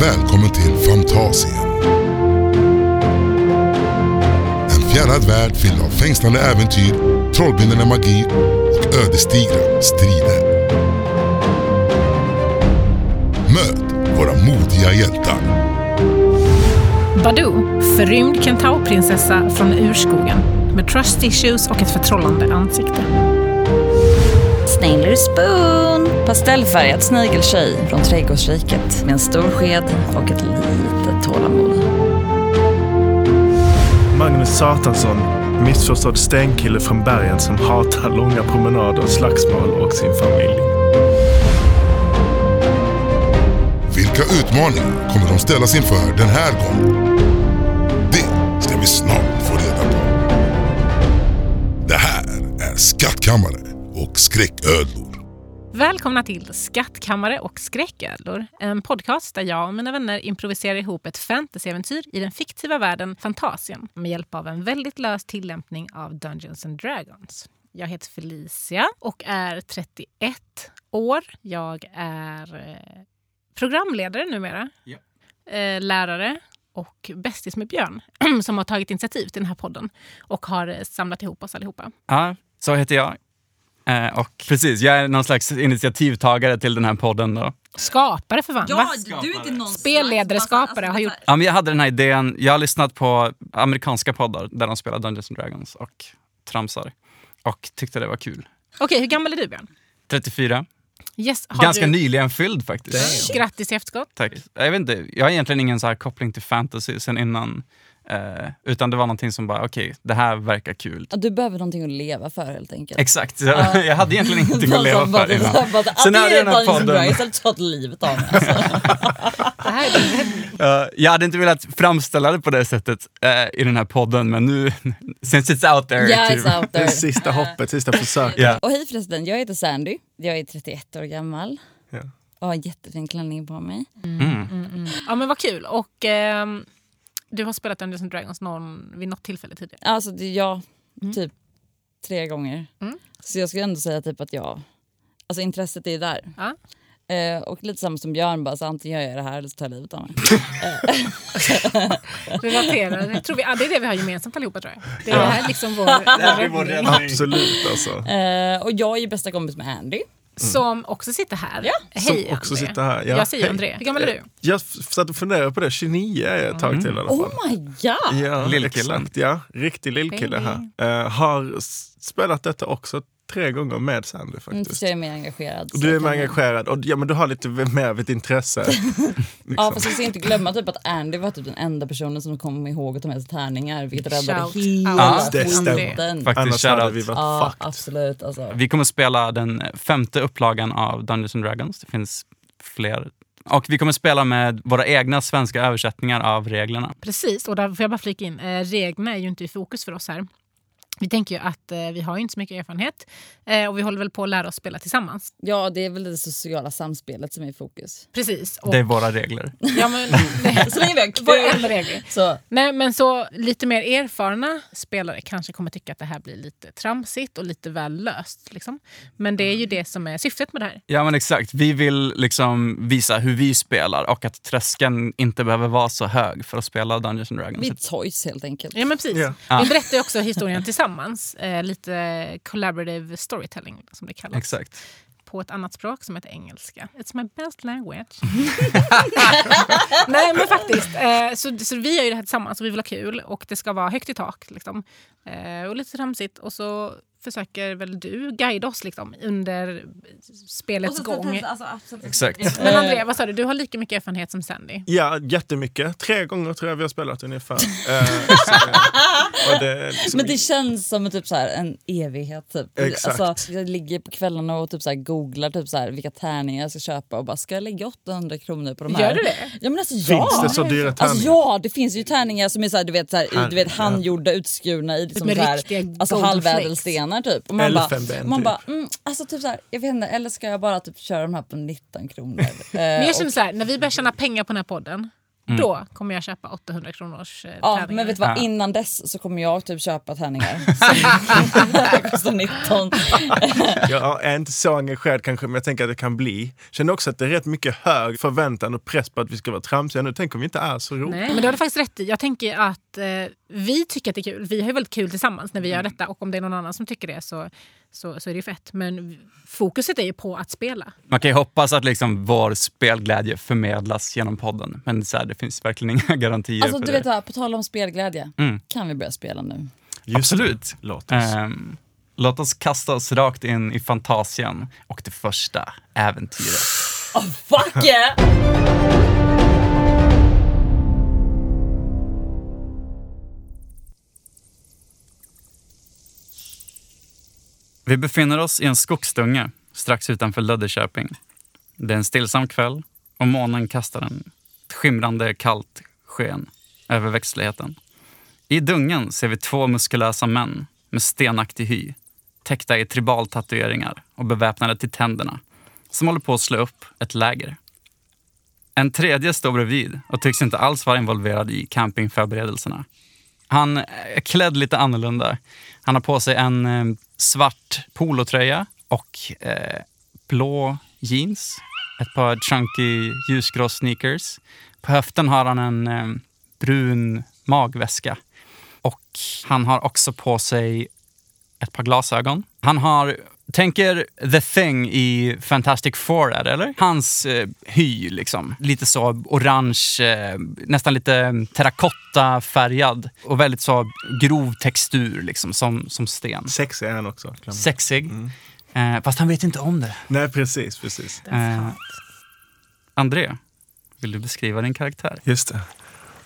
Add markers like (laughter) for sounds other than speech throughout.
Välkommen till Fantasien. En fjärrad värld fylld av fängslande äventyr, trollbindande magi och ödesdigra strider. Möt våra modiga hjältar. Badoo, förrymd kentaurprinsessa från urskogen med trust issues och ett förtrollande ansikte. Snailor Spoon! Pastellfärgad snigeltjej från trädgårdsriket med en stor sked och ett litet tålamod. Magnus Satansson, missförstådd stenkille från bergen som hatar långa promenader, slagsmål och sin familj. Vilka utmaningar kommer de ställas inför den här gången? Det ska vi snart få reda på. Det här är Skattkammare och skräcködlor. Välkomna till Skattkammare och skräcködlor. En podcast där jag och mina vänner improviserar ihop ett fantasyäventyr i den fiktiva världen Fantasien med hjälp av en väldigt lös tillämpning av Dungeons and Dragons. Jag heter Felicia och är 31 år. Jag är eh, programledare numera, eh, lärare och bästis med Björn (clears throat) som har tagit initiativ till den här podden och har eh, samlat ihop oss allihopa. Ja, så heter jag. Eh, och precis, jag är någon slags initiativtagare till den här podden. Då. Skapare för fan, va? du är inte någon Spelledare, slags- skapare, alltså, har gjort- Ja, men jag hade den här idén, jag har lyssnat på amerikanska poddar där de spelar Dungeons and Dragons och tramsar. Och tyckte det var kul. Okej, hur gammal är du Björn? 34. Yes, har Ganska du... nyligen fylld faktiskt. Grattis i efterskott. Tack. Jag, vet inte, jag har egentligen ingen så här koppling till fantasy sen innan. Eh, utan det var någonting som bara, okej, det här verkar kul. Du behöver någonting att leva för helt enkelt. Exakt, så (laughs) jag hade egentligen ingenting att leva för innan. Sen är det den här podden. Jag har tagit livet av mig. Alltså. Det här är din räddning. Eh, jag hade inte velat framställa det på det sättet eh, i den här podden, men nu, (laughs) since it's out there. typ. Yeah, it's out Det there. sista (laughs) hoppet, sista försöket. Ja. Och hej förresten, jag heter Sandy. Jag är 31 år gammal Ja. och har en jättefin klänning på mig. Ja, men vad kul. Och ehm, du har spelat Dungeons and Dragons någon, vid något tillfälle tidigare. Alltså, det är jag typ tre gånger. Så jag skulle ändå säga typ att jag... Alltså intresset är ju där. Ja. Eh, och lite samma som Björn, bara, så antingen gör jag det här eller så tar jag livet av mig. Relaterar. Jag tror vi, ja, det är det vi har gemensamt allihopa tror jag. Det är (laughs) det här liksom vår, vår räddning. Absolut alltså. Eh, och jag är ju bästa kompis med Andy. Som också sitter här. Hej Som också André. sitter här. Ja, Jag säger hej. Eh. André. Hur gammal är du? Jag f- satt och funderade på det, 29 är jag ett tag till i alla fall. Oh my god! Ja, Lillkillen. Exakt, ja. Riktig lillkille här. Eh, har s- spelat detta också tre gånger med Sandy Mm, faktiskt. fast jag är mer engagerad. så Du är jag mer kan- engagerad och ja, men du har lite v- mer av (laughs) ett intresse. Ja, liksom. fast vi ska inte glömma typ att Andy var typ den enda personen som kom ihåg att ta med sig tärningar, vilket Shout räddade out, hela Andy. skiten. Faktiskt, Annars shout hade out. vi varit Ja, fucked. absolut. Alltså. Vi kommer spela den femte upplagan av Dungeons and Dragons. Det finns fler. Och vi kommer spela med våra egna svenska översättningar av reglerna. Precis, och där får jag bara flika in, eh, reglerna är ju inte i fokus för oss här. Vi tänker ju att eh, vi har ju inte så mycket erfarenhet eh, och vi håller väl på att lära oss spela tillsammans. Ja, det är väl det sociala samspelet som är i fokus. Precis. Och, Det är (laughs) våra regler. ja, men, nej, Så länge vi har vad är en regel? Så, Nej, men så lite mer erfarna spelare kanske kommer tycka att det här blir lite tramsigt och lite väl löst. Liksom. Men det är ju det som är syftet med det här. Ja men exakt, vi vill liksom visa hur vi spelar och att tröskeln inte behöver vara så hög för att spela Dungeons and Dragons. vi är toys helt enkelt. Ja, men precis. Ja. Vi berättar ju också historien tillsammans. Eh, lite collaborative storytelling som det kallas. Exakt. På ett annat språk som heter engelska. It's my best language. (laughs) Nej men faktiskt. Eh, så, så vi gör ju det här tillsammans och vi vill ha kul och det ska vara högt i tak. Liksom. Eh, och lite tramsigt. Och så försöker väl du guida oss liksom, under spelets gång. Exakt. Eh. Men André, vad sa du? Du har lika mycket erfarenhet som Sandy. Ja, jättemycket. Tre gånger tror jag vi har (laughs) spelat ungefär. Eh, så, och det, är liksom, Men det känns som typ så här en evighet. Typ. Exakt. Alltså, jag ligger på kvällarna och typ så här googlar typ så här vilka tärningar jag ska köpa och bara ska jag lägga 800 kronor på de här? Gör du det? Ja, men alltså, ja. Finns det så dyra tärningar? Alltså, ja, det finns ju tärningar som är så här, du vet, så här, du vet Herregud. handgjorda, utskurna i liksom, Med så här, riktiga alltså, golden halvädelstenar typ. Och man bara, Elfenben, man typ. bara mm, alltså, typ så här, jag vet inte, eller ska jag bara typ köra de här på 19 kronor? Eh, Men jag känner så här, när vi börjar tjäna pengar på den här podden, Då kommer jag köpa 800 kronors eh, Ja, tärningar. men vet du vad? Ja. Innan dess så kommer jag typ köpa tärningar. som kostar 19. Jag är inte så engagerad kanske, men jag tänker att det kan bli. Känner också att det är rätt mycket hög förväntan och press på att vi ska vara tramsiga nu. Tänk om vi inte är så roliga. Nej, men du hade faktiskt rätt i. Jag tänker att eh, vi tycker att det är kul. Vi har ju väldigt kul tillsammans när vi gör detta och om det är någon annan som tycker det så, så, så är det ju fett. Men fokuset är ju på att spela. Man kan ju hoppas att liksom vår spelglädje förmedlas genom podden. Men så här, det finns verkligen (laughs) inga garantier Alltså för du det. vet vad, på tal om spelglädje. Mm. Kan vi börja spela nu? Just Absolut. det. Låt oss. Ehm, låt oss kasta oss rakt in i fantasien och det första äventyret. Oh, fuck yeah! Vi befinner oss i en skogsdunge strax utanför Löddeköping. Det är en stillsam kväll och månen kastar en ett skimrande kallt sken över växtligheten. I dungen ser vi två muskulösa män med stenaktig hy, täckta i tribaltatueringar och beväpnade till tänderna, som håller på att slå upp ett läger. En tredje står bredvid och tycks inte alls vara involverad i campingförberedelserna. Han är klädd lite annorlunda. Han har på sig en eh, svart polotröja och eh, blå jeans. Ett par chunky ljusgrå sneakers. På höften har han en eh, brun magväska. Och han har också på sig ett par glasögon. Han har, tänker The Thing i Fantastic Four är det, eller? Hans eh, hy liksom. Lite så orange, eh, nästan lite mm, terrakottafärgad och väldigt så grov textur liksom som, som sten. Sexig är han också. Glöm. Sexig. Eh, fast han vet inte om det. Nej, precis, precis. Eh, André, vill du beskriva din karaktär? Just det.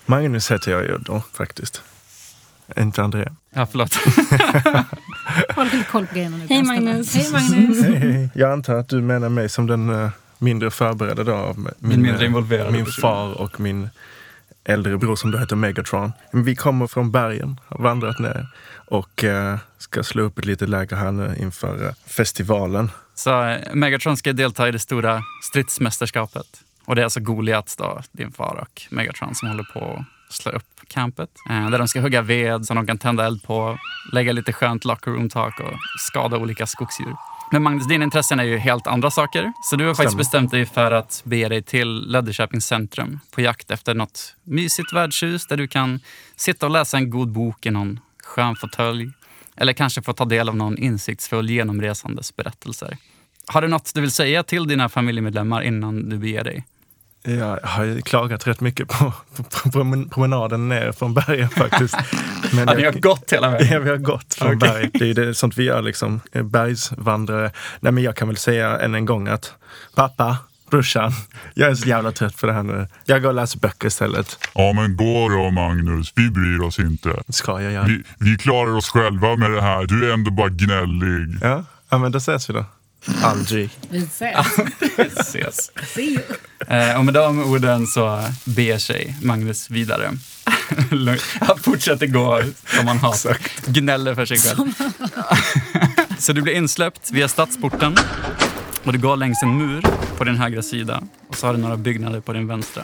Magnus heter jag ju då, faktiskt. Inte André. Ja, förlåt. Håll lite koll på grejerna nu. Hej, Konstantin. Magnus. Hej Magnus! Hej, hej. Jag antar att du menar mig som den eh, mindre förberedda då av min, mindre eh, involverade min person. far och min äldre bror som då heter Megatron. Men Vi kommer från bergen, har vandrat ner och eh, ska slå upp ett litet läger här nu inför eh, festivalen. Så eh, Megatron ska delta i det stora stridsmästerskapet. Och det är alltså Goliat, då, din far och Megatron som håller på att slå upp campet. Eh, där de ska hugga ved som de kan tända eld på, lägga lite skönt locker room tak och skada olika skogsdjur. Men Magnus, dina intressen är ju helt andra saker. Så du har faktiskt Stämmer. bestämt dig för att bege dig till Löddeköpings centrum på jakt efter något mysigt värdshus där du kan sitta och läsa en god bok i någon skön fåtölj. Eller kanske få ta del av någon insiktsfull genomresandes berättelser. Har du något du vill säga till dina familjemedlemmar innan du beger dig? Jag har ju klagat rätt mycket på, på, på promen- promenaden ner från bergen faktiskt. (laughs) Men jag- gått hela (laughs) Ja, vi har gått från Okej. berg. Det är ju det, sånt vi gör, liksom. Eh, bergsvandrare. Nej, men jag kan väl säga än en gång att pappa, brorsan, jag är så jävla trött på det här nu. Jag går och läser böcker istället. Ja men gå då Magnus, vi bryr oss inte. Ska jag göra. Vi, vi klarar oss själva med det här, du är ändå bara gnällig. Ja, ja men då ses vi då. Aldrig. Vi ses. Ses. Eh, och med de orden så beger sig Magnus vidare. Lugnt. han fortsätter gå som han har. Gnäller för sig själv. (laughs) så du blir insläppt via stadsporten och du går längs en mur på din högra sida och så har du några byggnader på din vänstra.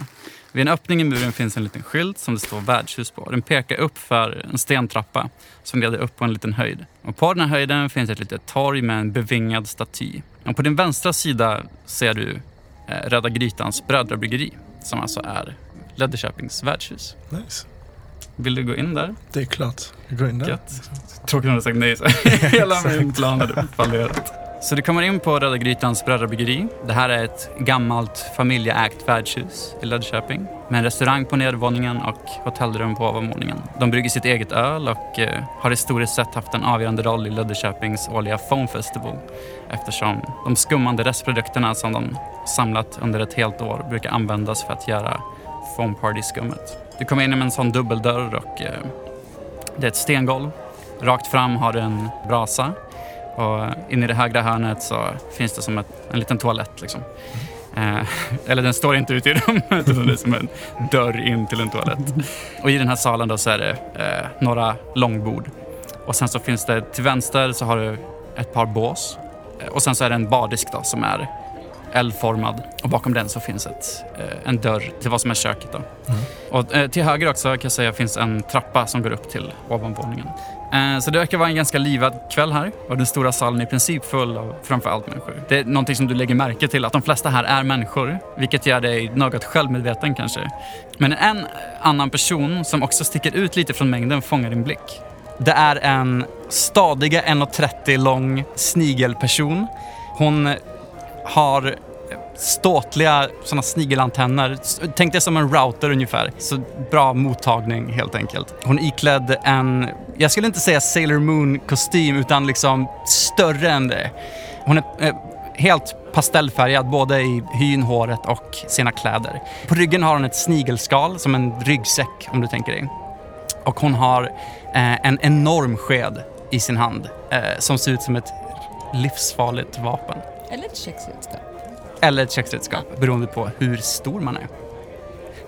Vid en öppning i muren finns en liten skylt som det står värdshus på. Den pekar upp för en stentrappa som leder upp på en liten höjd. Och på den här höjden finns ett litet torg med en bevingad staty. Och på din vänstra sida ser du eh, Röda Grytans brödrabryggeri som alltså är Löddeköpings värdshus. Nice. Vill du gå in där? Det är klart. Jag går in där. Gött. Tråkigt om du sagt nej. Så. Hela min plan hade fallerat. Så du kommer in på Röda Grytans brödrabryggeri. Det här är ett gammalt familjeägt värdshus i Löddeköping med en restaurang på nedervåningen och hotellrum på ovanvåningen. De brygger sitt eget öl och eh, har historiskt sett haft en avgörande roll i Löddeköpings årliga Foam Festival eftersom de skummande restprodukterna som de samlat under ett helt år brukar användas för att göra foam party-skummet. Du kommer in med en sån dubbeldörr och eh, det är ett stengolv. Rakt fram har du en brasa. Och in i det högra hörnet så finns det som ett, en liten toalett. Liksom. Eh, (laughs) eller den står inte ute i rummet, utan det är som en dörr in till en toalett. Och i den här salen då så är det eh, några långbord. Och sen så finns det till vänster så har du ett par bås. Eh, Och sen så är det en bardisk då som är L-formad och bakom den så finns ett, eh, en dörr till vad som är köket. Då. Och, eh, till höger också kan jag säga finns en trappa som går upp till ovanvåningen. Eh, så det verkar vara en ganska livad kväll här och den stora salen är i princip full av framför allt människor. Det är någonting som du lägger märke till att de flesta här är människor, vilket gör dig något självmedveten kanske. Men en annan person som också sticker ut lite från mängden fångar din blick. Det är en stadiga 1,30 lång snigelperson. Hon har ståtliga såna snigelantenner. S- Tänk dig som en router ungefär. Så bra mottagning helt enkelt. Hon är iklädd en, jag skulle inte säga Sailor Moon-kostym utan liksom större än det. Hon är eh, helt pastellfärgad både i hyn, håret och sina kläder. På ryggen har hon ett snigelskal som en ryggsäck om du tänker dig. Och hon har eh, en enorm sked i sin hand eh, som ser ut som ett livsfarligt vapen Eller ett köksredskap. eller ett köksredskap beroende på hur stor man är.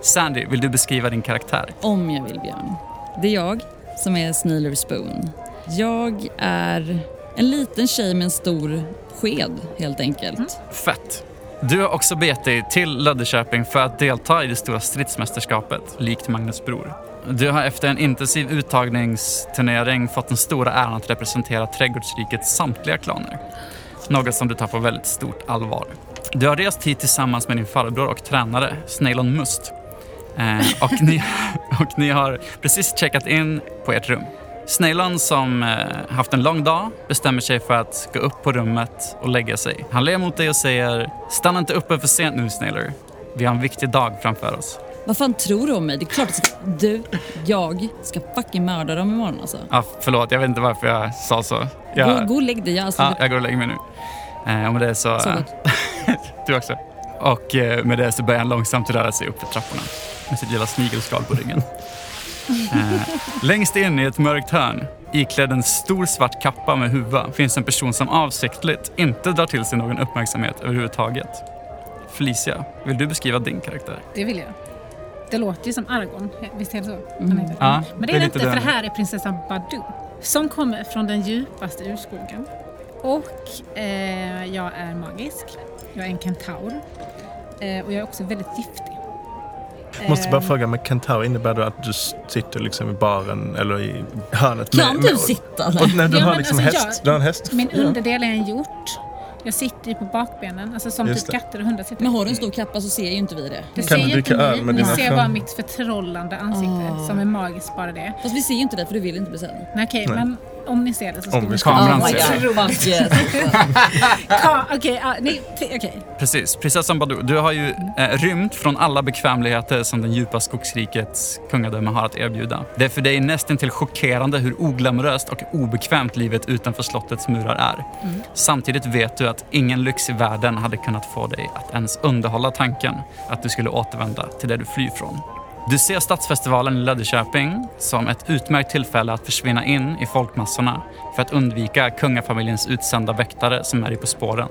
Sandy, vill du beskriva din karaktär? Om jag vill, Björn. Det är jag som är Sneeler Spoon. Jag är en liten tjej med en stor sked, helt enkelt. Fett! Du har också begett dig till Löddeköping för att delta i det stora stridsmästerskapet, likt Magnus bror. Du har efter en intensiv uttagningsturnering fått den stora äran att representera trädgårdsrikets samtliga klaner. Något som du tar på väldigt stort allvar. Du har rest hit tillsammans med din farbror och tränare, Snailon Must. Eh, och, ni, (laughs) och ni har precis checkat in på ert rum. Snailon som eh, haft en lång dag bestämmer sig för att gå upp på rummet och lägga sig. Han ler mot dig och säger “Stanna inte uppe för sent nu Snailer. Vi har en viktig dag framför oss.” Vad fan tror du om mig? Det är klart att jag ska- du, jag, ska fucking mörda dem imorgon alltså. ah, Förlåt, jag vet inte varför jag sa så. Gå, Jag, gå och lägg dig, jag, alltså, ah, jag går och lägger mig nu. Eh, och med det så... Så gott. (laughs) du också. Och eh, med det så börjar han långsamt röra sig upp för trapporna med sitt lilla snigelskal på ryggen. Eh, längst in i ett mörkt hörn, iklädd en stor svart kappa med huva, finns en person som avsiktligt inte drar till sig någon uppmärksamhet överhuvudtaget. Felicia, vill du beskriva din karaktär? Det vill jag. Det låter ju som Argon, visst är det så? Mm. Han heter. Ja, Men det är det inte, för det här är prinsessan Badoo. Som kommer från den djupaste urskogen. Och eh, jag är magisk. Jag är en kentaur. Eh, och jag är också väldigt giftig. Måste bara Eh, fråga, men kentaur innebär det att du s- sitter liksom i baren eller i hörnet? Kan med- du med- sitta Och, och där? när du Ja, har men liksom alltså, häst? jag- Du har en häst? Min Ja. underdel är en hjort. Jag sitter ju på bakbenen, alltså som Just typ det. katter och hundar sitter. Men har du en stor kappa så ser ju inte vi det. Det Kan ser du ju inte dricka öl ni, med ni dina ser fram- bara mitt förtrollande ansikte som är magiskt bara det. Fast vi ser ju inte det för du vill inte bli sedd. Nej, okej, Nej. men om ni ser det så Om skulle vi ni- skulle- Kameran Oh my ser God. Fuck yes. Ja, Ah, Okej, ja, ni- t- okej. Precis, prinsessan Badou, du har ju eh, rymt från alla bekvämligheter som den djupa skogsrikets kungadöme har att erbjuda. Det är för dig nästan till chockerande hur oglamoröst och obekvämt livet utanför slottets murar är. Samtidigt vet du att ingen lyx i världen hade kunnat få dig att ens underhålla tanken att du skulle återvända till det du flyr från. Du ser Stadsfestivalen i Löddeköping som ett utmärkt tillfälle att försvinna in i folkmassorna för att undvika kungafamiljens utsända väktare som är dig på spåren.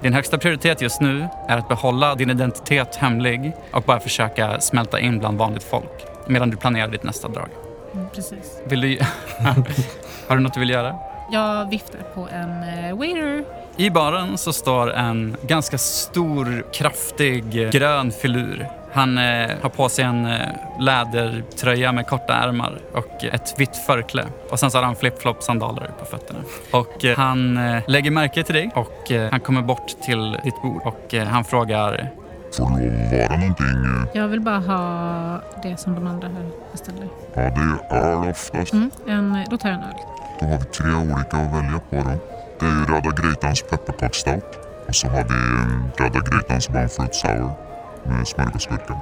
Din högsta prioritet just nu är att behålla din identitet hemlig och bara försöka smälta in bland vanligt folk medan du planerar ditt nästa drag. Mm, Precis. Vill du... (laughs) Har du något du vill göra? Jag viftar på en eh, waiter. I baren så står en ganska stor, kraftig, eh, grön filur. Han eh, har på sig en eh, lädertröja med korta ärmar och ett vitt förkläde. Och sen så har han flip-flop-sandaler på fötterna. Och eh, han eh, lägger märke till dig och eh, han kommer bort till ditt bord och eh, han frågar Får det lov att vara någonting? eh? Jag vill bara ha det som de andra här beställde. Ja, det är öl oftast. Mm, en, då tar jag en öl. Då har vi tre olika att välja på då. Det är ju Röda Grytans pepparkaksstout. Och så har vi eh, Röda Grytans One Fruit Sour med smörgåsgurka.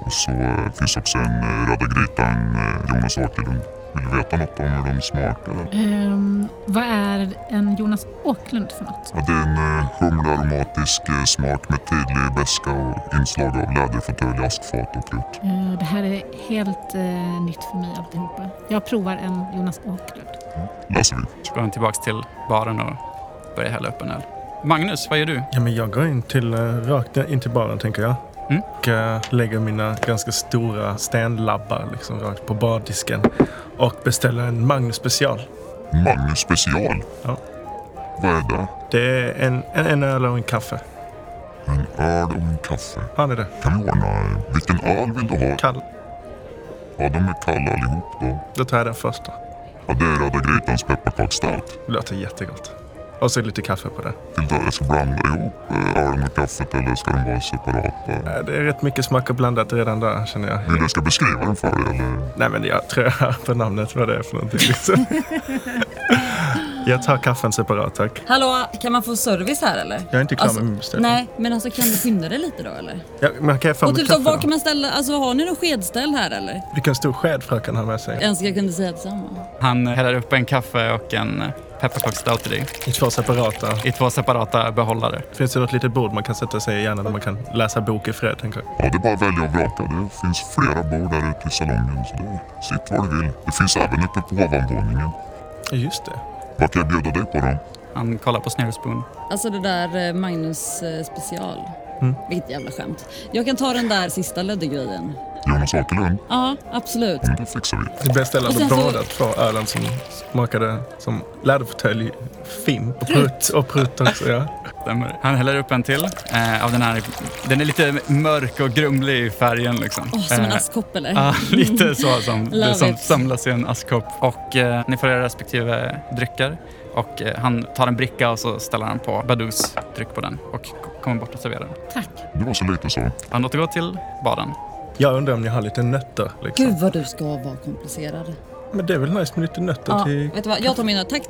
Och så eh, finns också en eh, Röda Grytan eh, Jonas Åkerlund. Vill du veta något om hur de smakar? eller? Ehm, vad är en Jonas Åkerlund för något? Ja, det är en eh, humlearomatisk eh, smak med tydlig beska och inslag av läderfåtölj, askfat och krut. Eh, det här är helt eh, nytt för mig alltihopa. Jag provar en Jonas Åkerlund. Läser vi. Så går han tillbaks till baren och börjar hälla upp en öl. Magnus, vad gör du? Ja, men jag går in till, eh, rakt in till baren tänker jag. Mm. Och eh, lägger mina ganska stora stenlabbar liksom rakt på bardisken. Och beställer en Magnus special. Magnus special. Ja. Vad är det? Det är en, en, en öl och en kaffe. En öl och en kaffe. Han är det. Kan vi ordna... Vilken öl vill du ha? Kall. Ja, de är kalla allihop då. Då tar jag den första. Ja, det är Röda Grytans pepparkaksstout. Det låter jättegott. Och så lite kaffe på det. Vill du att jag ska blanda ihop eh, ölen och kaffet eller ska de vara separata? Äh, Det är rätt mycket smak och blandat redan där känner jag. Vill du att jag ska beskriva den för dig eller? Nej men jag tror jag hör på namnet vad det är för någonting. (laughs) liksom. jag tar kaffen separat tack. Hallå, kan man få service här eller? Jag är inte klar med min beställning. Alltså, Nej, men alltså kan du skynda dig lite då eller? Ja, men kan jag få Och mitt typ så, kaffe var kan då? man ställa, alltså har ni någon skedställ här eller? Vilken stor sked fröken har med Jag sig. önskar jag kunde säga detsamma. Han häller upp en kaffe och en pepparkaksstout till dig I två separata. i två separata behållare. Finns det något litet bord man kan sätta sig i gärna där man kan läsa bok i fred? Tänker jag. Ja, det är bara att välja och vraka. Det finns flera bord där ute i salongen. Så det, sitt var du vill. Det finns även uppe på ovanvåningen. Ja, Just det. Vad kan jag bjuda dig på då? Han kollar på Snarespoon. Alltså det där eh, Magnus eh, special. Mm. Vilket jävla skämt. Jag kan ta den där sista löddegrejen. Jonas Åkerlund? Ja, absolut. Ja, men det fixar vi. Vi beställde Och alltså sen så- båda två ölen som smakade som läderfåtölj, fin och prutt. Och prutt också, ja. Stämmer. Han häller upp en till. Eh, av den, här, den är lite mörk och grumlig i färgen. Liksom. Åh, som en Eh, askkopp eller? Ah. Ja, (laughs) lite så som Love det som it. samlas i en askkopp. Och eh, ni får era respektive drycker. Och eh, han tar en bricka och så ställer han på Badous dryck på den och k- kommer bort och serverar den. Det var så lite så. Han återgår till baren. Jag undrar om ni har lite nötter. Liksom. Gud vad du ska vara komplicerad. Men det är väl nice med lite nötter Ja, (laughs) till... vet du vad? Jag tar mina tack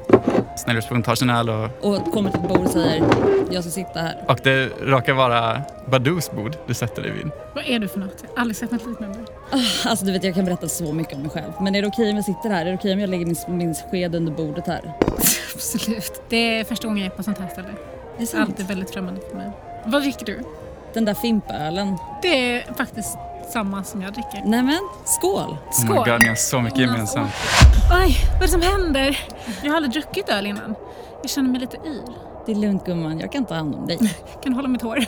Snällhuspunkt tar sin öl och, och kommer till ett bord och säger jag ska sitta här. och det råkar vara Badous bord du sätter dig vid. Oh Vad är du för något? Jag har aldrig sett något liknande. Alltså du vet jag kan berätta så mycket om mig själv. Men är det okej om jag sitter här? Är det okej om jag lägger min, min sked under bordet här? (laughs) Absolut. Det är första gången jag är på sånt här ställe. Det är sant. Allt är väldigt främmande för mig. Vad dricker du? Den där fimpölen. Det är faktiskt samma som jag dricker. Nämen, skål! Oh my Skål! god, ni har så mycket gemensamt. Oj, vad är det som händer? Jag har aldrig druckit öl innan. Jag känner mig lite yr. Det är lugnt gumman, jag kan ta hand (laughs) om dig. Kan du hålla mitt (laughs) hår?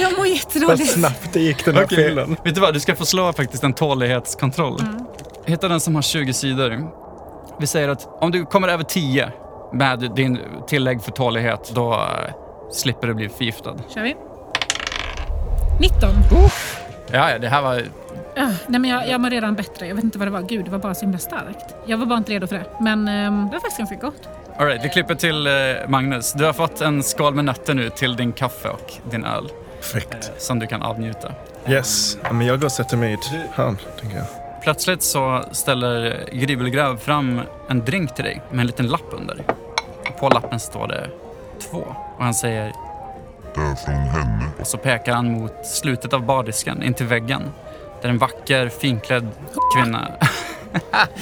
jag mår Vad jättedåligt. snabbt det gick den här Okej, fyllan. Vet du vad, du ska få slå faktiskt en tålighetskontroll. Hitta den som har 20 sidor. Vi säger att om du kommer över 10 med din tillägg för tålighet, då eh, slipper du bli förgiftad. kör vi. 19. Ja, ja, det här var... Ah, nej men jag, jag mår redan bättre. Jag vet inte vad det var. Gud, det var bara så himla starkt. Jag var bara inte redo för det. Men ehm, det var faktiskt ganska gott. All right, vi klipper till eh, Magnus. Du har fått en skål med nötter nu till din kaffe och din öl Perfekt. som du kan avnjuta. Yes. Ja, men jag går och sätter mig i hörn, tänker jag. Plötsligt så ställer Gribbelgräv fram en drink till dig med en liten lapp under. På lappen står det två och han säger Det är från henne. Och så pekar han mot slutet av bardisken, in till väggen. Där en vacker, finklädd kvinna,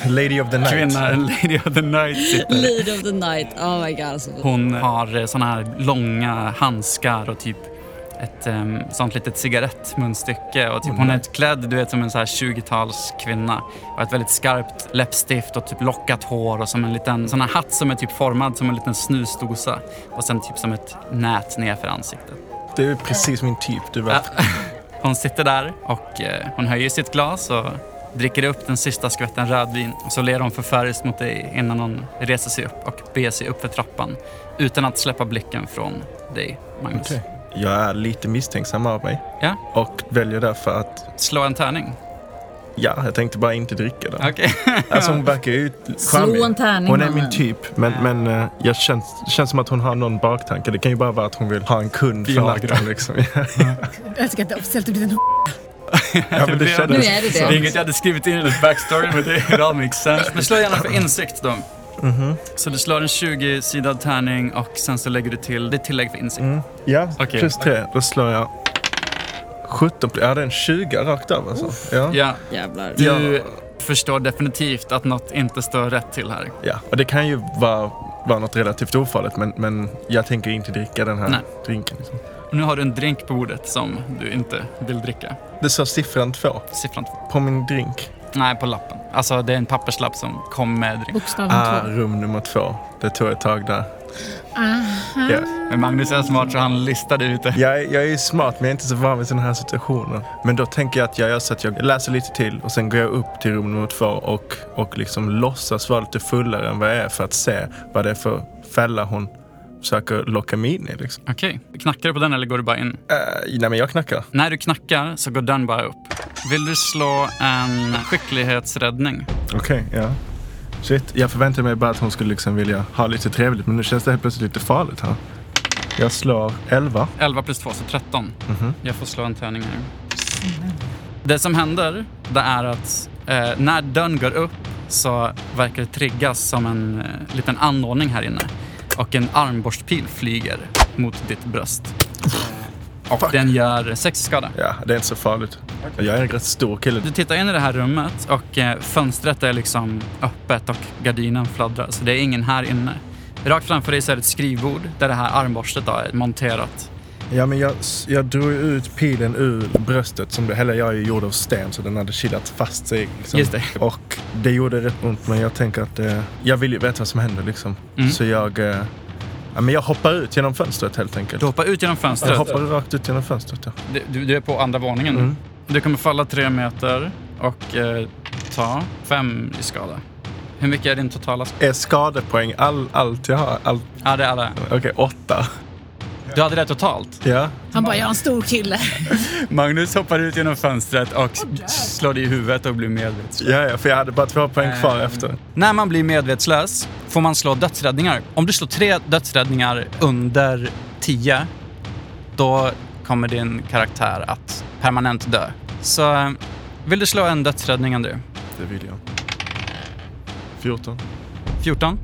Lady of the night. kvinna en lady of the night sitter. Lead of the night, oh my god. Alltså. Hon har eh, såna här långa handskar och typ ett em, sånt litet cigarettmunstycke. Och typ, hon är klädd du vet, som en så här 20-talskvinna. Och ett väldigt skarpt läppstift och typ lockat hår och som en liten sån här hatt som är typ formad som en liten snusdosa. Och sen typ som ett nät nerför ansiktet. Det är precis min typ du var. Hon sitter där och eh, hon höjer sitt glas och dricker upp den sista skvätten rödvin. Och så ler hon förfäriskt mot dig innan hon reser sig upp och beger sig upp för trappan utan att släppa blicken från dig, Magnus. Okej. Jag är lite misstänksam av mig. Ja. Och väljer därför att, Slå en tärning. ja, jag tänkte bara inte dricka den. Okej. Alltså hon verkar ju charmig. Slå en tärning, Hon är mannen. min typ, men, men eh, jag känns, känns som att hon har någon baktanke. Det kan ju bara vara att hon vill ha en kund för Viagra. natten liksom. (laughs) Jag älskar att det är officiellt har blivit en ja, men det Nu är Nu kändes är det det det. är inget jag hade skrivit in i ditt backstory, men det it all makes sense. Mm-hmm. Men slå gärna för insikt då. Så du slår en 20-sidad tärning och sen så lägger du till ditt tillägg för insikt. Ja, Okej. plus tre. Då slår jag 17. Ja, det är en 20 rakt av alltså. Ja. Ja, Jävlar. du förstår definitivt att något inte står rätt till här. ja. Och det kan ju vara, vara något relativt ofarligt, men, men jag tänker inte dricka den här Nej. drinken. Liksom. Nu har du en drink på bordet som du inte vill dricka. Det står siffran två Siffran två. på min drink. Nej, på lappen. Alltså det är en papperslapp som kom med drink. bokstav. Ah, rum nummer två. Det tog ett tag där. Ah. Ah. Ja. Men Magnus är smart så han listade ut det. Jag, är- jag är ju smart men jag är inte så van vid sådana här situationer. Men då tänker jag att jag gör så att jag läser lite till och sen går jag upp till rum nummer två och, och liksom låtsas vara lite fullare än vad jag är för att se vad det är för fälla hon försöker locka mig in i. Liksom. Okej, knackar du på den eller går du bara in? Eh, nej, men jag knackar. När du knackar så går dörren bara upp. Vill du slå en skicklighetsräddning? Okej, ja. Shit, jag förväntade mig bara att hon skulle liksom vilja ha lite trevligt, men nu känns det helt plötsligt lite farligt här. Jag slår 11. 11 plus 2, så 13. Mhm. Jag får slå en tärning nu. Det som händer, det är att eh, när dörren går upp så verkar det triggas som en eh, liten anordning här inne. Och en armborstpil flyger mot ditt bröst. Och Eh, Fuck. den gör sex skada. Ja, det är inte så farligt. Jag är en rätt stor kille. Du tittar in i det här rummet och eh, fönstret är liksom öppet och gardinen fladdrar. Så det är ingen här inne. Rakt framför dig så är det ett skrivbord där det här armborstet då är monterat. Ja, men jag, jag drog ut pilen ur bröstet. Som det, hela jag är ju gjord av sten, så den hade kilat fast sig. Liksom. Just det. Och det gjorde rätt ont, men jag tänker att eh, jag vill ju veta vad som händer. Liksom. Mm. Så jag, eh, ja, men jag hoppar ut genom fönstret helt enkelt. Du hoppar ut genom jag fönstret. hoppar rakt ut genom fönstret. Ja. Du, du, du är på andra våningen nu. Mm. Du kommer falla tre meter och eh, ta fem i skada. Hur mycket är din totala skada? Är skadepoäng all, allt jag har? Allt, Ja, det är det. Okej, åtta. Du hade det totalt. Ja. Han bara, jag är en stor kille. Magnus hoppar ut genom fönstret och slår dig i huvudet och blir medvetslös. Ja, ja, för jag hade bara två poäng kvar Eh. efter. När man blir medvetslös får man slå dödsräddningar. Om du slår tre dödsräddningar under 10, då kommer din karaktär att permanent dö. Så eh, vill du slå en dödsräddning, Andrew? Det vill jag. 14. 14.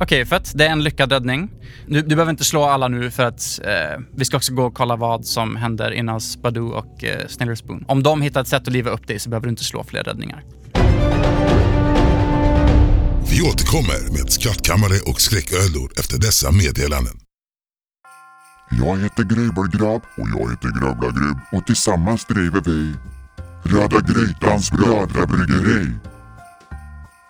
Okej, fett. Det är en lyckad räddning. Du, du behöver inte slå alla nu för att eh, vi ska också gå och kolla vad som händer innan Badoo och eh, Sniller Spoon. Om de hittar ett sätt att liva upp dig så behöver du inte slå fler räddningar. Vi återkommer med skattkammare och skräcködlor efter dessa meddelanden. Jag heter Grubbelgrabb och jag heter Grubbla Grubb och tillsammans driver vi Röda Grytans brödrabryggeri.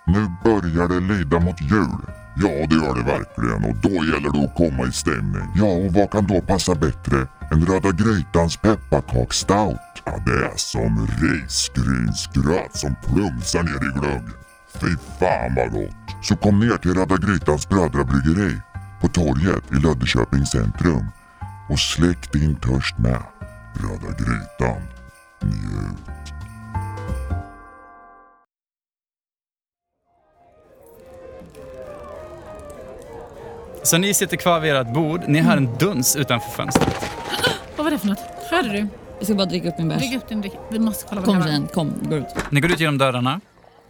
Nu börjar det lida mot jul. Ja, det gör det verkligen och då gäller det att komma i stämning. Ja, och vad kan då passa bättre än Röda Grytans pepparkakstout? Ja, det är som risgrynsgröt som plumsar ner i glögg. Fy fan vad gott! Så kom ner till Röda Grytans brödrabryggeri på torget i Löddeköpings centrum och släck din törst med Röda Grytan. Njut! Så ni sitter kvar vid ert bord. Ni hör en duns utanför fönstret. Vad var det för något? Hörde du? Jag ska bara dricka upp min bärs. Lägg upp din dryck. Vi måste kolla vad Kom det var. tjejen, kom. Gå ut. Ni går ut genom dörrarna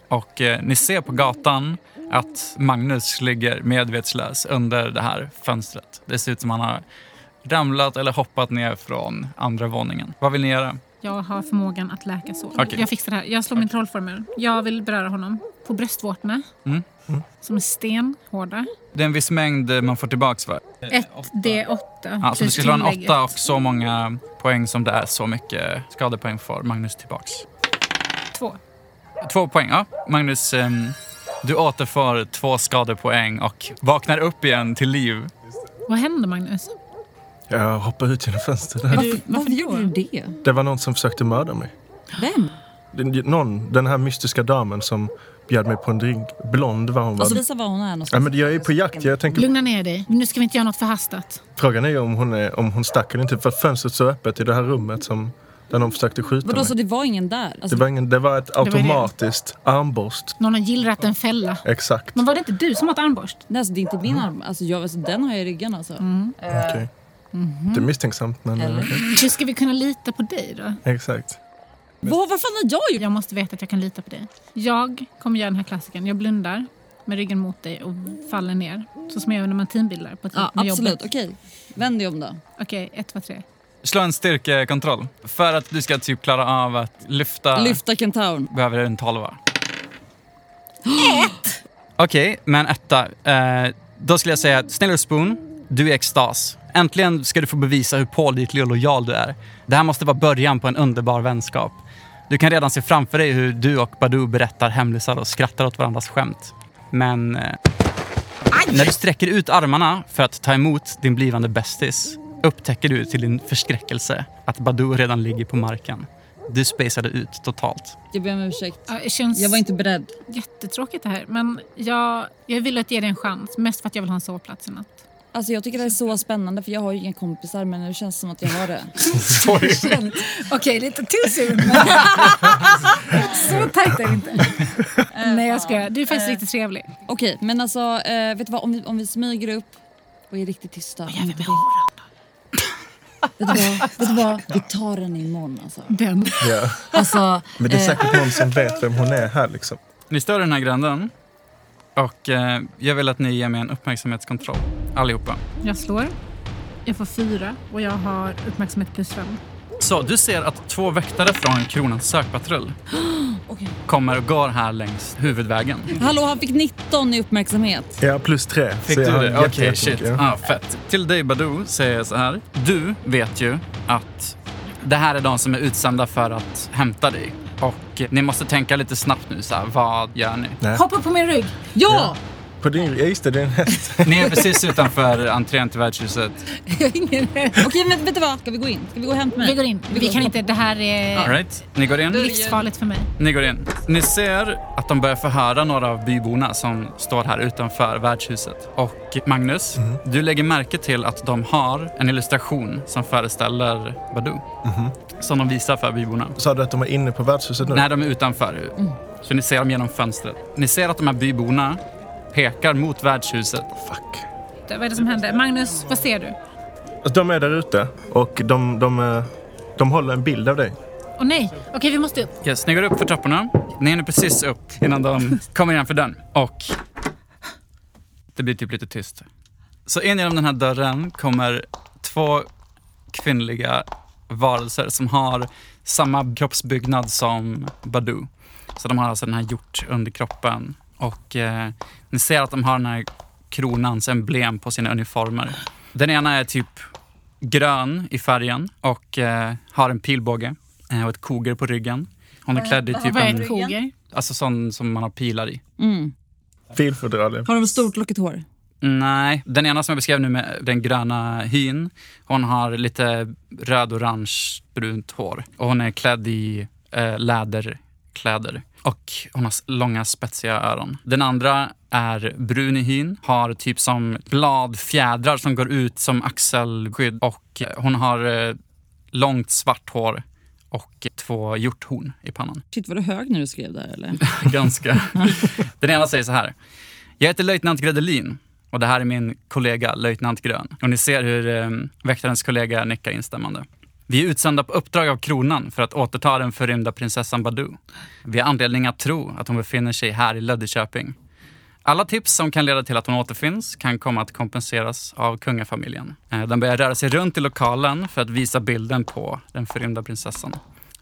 och eh, ni ser på gatan att Magnus ligger medvetslös under det här fönstret. Det ser ut som han har ramlat eller hoppat ner från andra våningen. Vad vill ni göra? Jag har förmågan att läka sår. Okej. Jag fixar det här. Jag slår min trollformel. Jag vill beröra honom på bröstvårtorna. Mm. Som är stenhårda. Det är en viss mängd eh, man får tillbaks va? 1 D8. Ja, Eh, Ah, så du plus ska slå en tillägget. åtta och så många poäng som det är så mycket skadepoäng får Magnus tillbaks. Två. Två poäng, ja. Magnus, ehm, du återfår två skadepoäng och vaknar upp igen till liv. Vad händer Magnus? Jag hoppar ut genom fönstret. Är Varför, du, varför gjorde du det? Det var någon som försökte mörda mig. Vem? Den- Någon, den här mystiska damen som bjöd mig på en drink. Blond var hon. Va? Alltså visa var hon är Ja, någonstans. men jag är på jakt. Jag tänker, Lugna ner dig. Nu ska vi inte göra något förhastat. frågan är ju om hon, är, om hon stack eller inte. För fönstret så öppet i det här rummet som, där någon försökte skjuta Vadå, mig. så det var ingen där? Det Alltså, var, ingen, det var ett var det. automatiskt armborst. Någon har gillrat en fälla. Exakt. Men var det inte du som åt armborst? nej, alltså, det är inte min arm. Alltså, jag, alltså, den har jag i ryggen alltså. Mm. Okej. Mhm. Det är misstänksamt men... okej. Hur ska vi kunna lita på dig då? Exakt. Vad, vad fan har jag gjort? Jag måste veta att jag kan lita på dig. Jag kommer göra den här klassiken. Jag blundar med ryggen mot dig och faller ner. Så som jag gör när man teambildar på ett Ja, med absolut. jobbet. Okej. Vänd dig om då. Okej, ett, två, tre. Slå en styrkekontroll. För att du ska typ klara av att lyfta Lyfta kentauren. behöver du en tolva. Ett! Okej, men etta. Eh, då skulle jag säga att Snälla Spoon, du är extas. Äntligen ska du få bevisa hur pålitlig och lojal du är. Det här måste vara början på en underbar vänskap. Du kan redan se framför dig hur du och Badoo berättar hemlisar och skrattar åt varandras skämt. Men... Eh, när du sträcker ut armarna för att ta emot din blivande bästis upptäcker du till din förskräckelse att Badoo redan ligger på marken. Du spejsade ut totalt. Jag ber om ursäkt. Ja, det känns Jag var inte beredd. jättetråkigt det här. Men jag, jag vill att ge dig en chans. Mest för att jag vill ha en sovplats i natt. Alltså jag tycker det är så spännande för jag har ju inga kompisar men det känns som att jag har det. Sorry. (laughs) Okej, lite too soon. Men... så tajt är det inte. Eh, Nej, jag ska. Du är faktiskt riktigt trevlig. Okej, men alltså eh, vet du vad? Om vi, om vi smyger upp och är riktigt tysta. Vad gör vi med horan då? Vet du, vad? vet du vad? Vi tar den imorgon alltså. Den. Ja. Alltså, Men det är eh, säkert någon som vet vem hon är här liksom. Ni stör den här gränden. Och eh, jag vill att ni ger mig en uppmärksamhetskontroll. Allihopa. Jag slår. Jag får fyra och jag har uppmärksamhet plus fem. Så du ser att två väktare från Kronans sökpatrull Okej. kommer och går här längs huvudvägen. hallå, han fick 19 i uppmärksamhet. Ja, plus tre. Fick Så du jag har det? Okej, jätte- jättemycket, shit. ja. Ah, fett. Till dig Badou säger jag så här. Du vet ju att det här är de som är utsända för att hämta dig. Och ni måste tänka lite snabbt nu så här, vad gör ni? Hoppa på min rygg. Ja! På din, ja just det, det är en häst. Ni är precis utanför entrén till värdshuset. (laughs) Jag har ingen Okej, men vet du vad? Ska vi gå in? Ska vi gå och hämta mig? Vi går in. Vi kan inte, det här All är right. Ni går in? livsfarligt för mig. Ni går in. Ni ser att de börjar förhöra några av byborna som står här utanför värdshuset. Och Magnus, du lägger märke till att de har en illustration som föreställer Badoo. Som de visar för byborna. Sa du att de var inne på värdshuset nu? När de är utanför. Så ni ser dem genom fönstret. Ni ser att de här byborna pekar mot värdshuset. Fuck. Vad är det som händer? Magnus, vad ser du? Alltså, de är där ute och de, de, eh, de håller en bild av dig. Åh nej! Okej, vi måste upp. Yes, ni går upp för trapporna. Ni hinner precis upp innan de kommer igen för dörren. Och det blir typ lite tyst. Så in genom den här dörren kommer två kvinnliga varelser som har samma kroppsbyggnad som Badoo. Så de har alltså den här hjort under kroppen. Och eh, ni ser att de har den här kronans emblem på sina uniformer. Den ena är typ grön i färgen och eh, har en pilbåge eh, och ett koger på ryggen. Hon är klädd i typ Vad är en en, koger? alltså sån som man har pilar i. Mm. Filfodralen. Har de stort lockigt hår? Nej, den ena som jag beskrev nu med den gröna hyn, hon har lite röd-orange brunt hår och hon är klädd i eh, läderkläder. Och hon har s- långa spetsiga öron. Den andra är brun i hyn, har typ som bladfjädrar som går ut som axelskydd och eh, hon har eh, långt svart hår och två hjorthorn i pannan Shit, var du hög när du skrev där eller? (laughs) ganska. Den ena säger så här. Jag heter löjtnant Gredelin och det här är min kollega löjtnant Grön. Och ni ser hur eh, väktarens kollega nickar instämmande. Vi är utsända på uppdrag av kronan för att återta den förrymda prinsessan Badou. Vi har anledning att tro att hon befinner sig här i Löddeköping. Alla tips som kan leda till att hon återfinns kan komma att kompenseras av kungafamiljen. Eh, Den börjar röra sig runt i lokalen för att visa bilden på den förrymda prinsessan.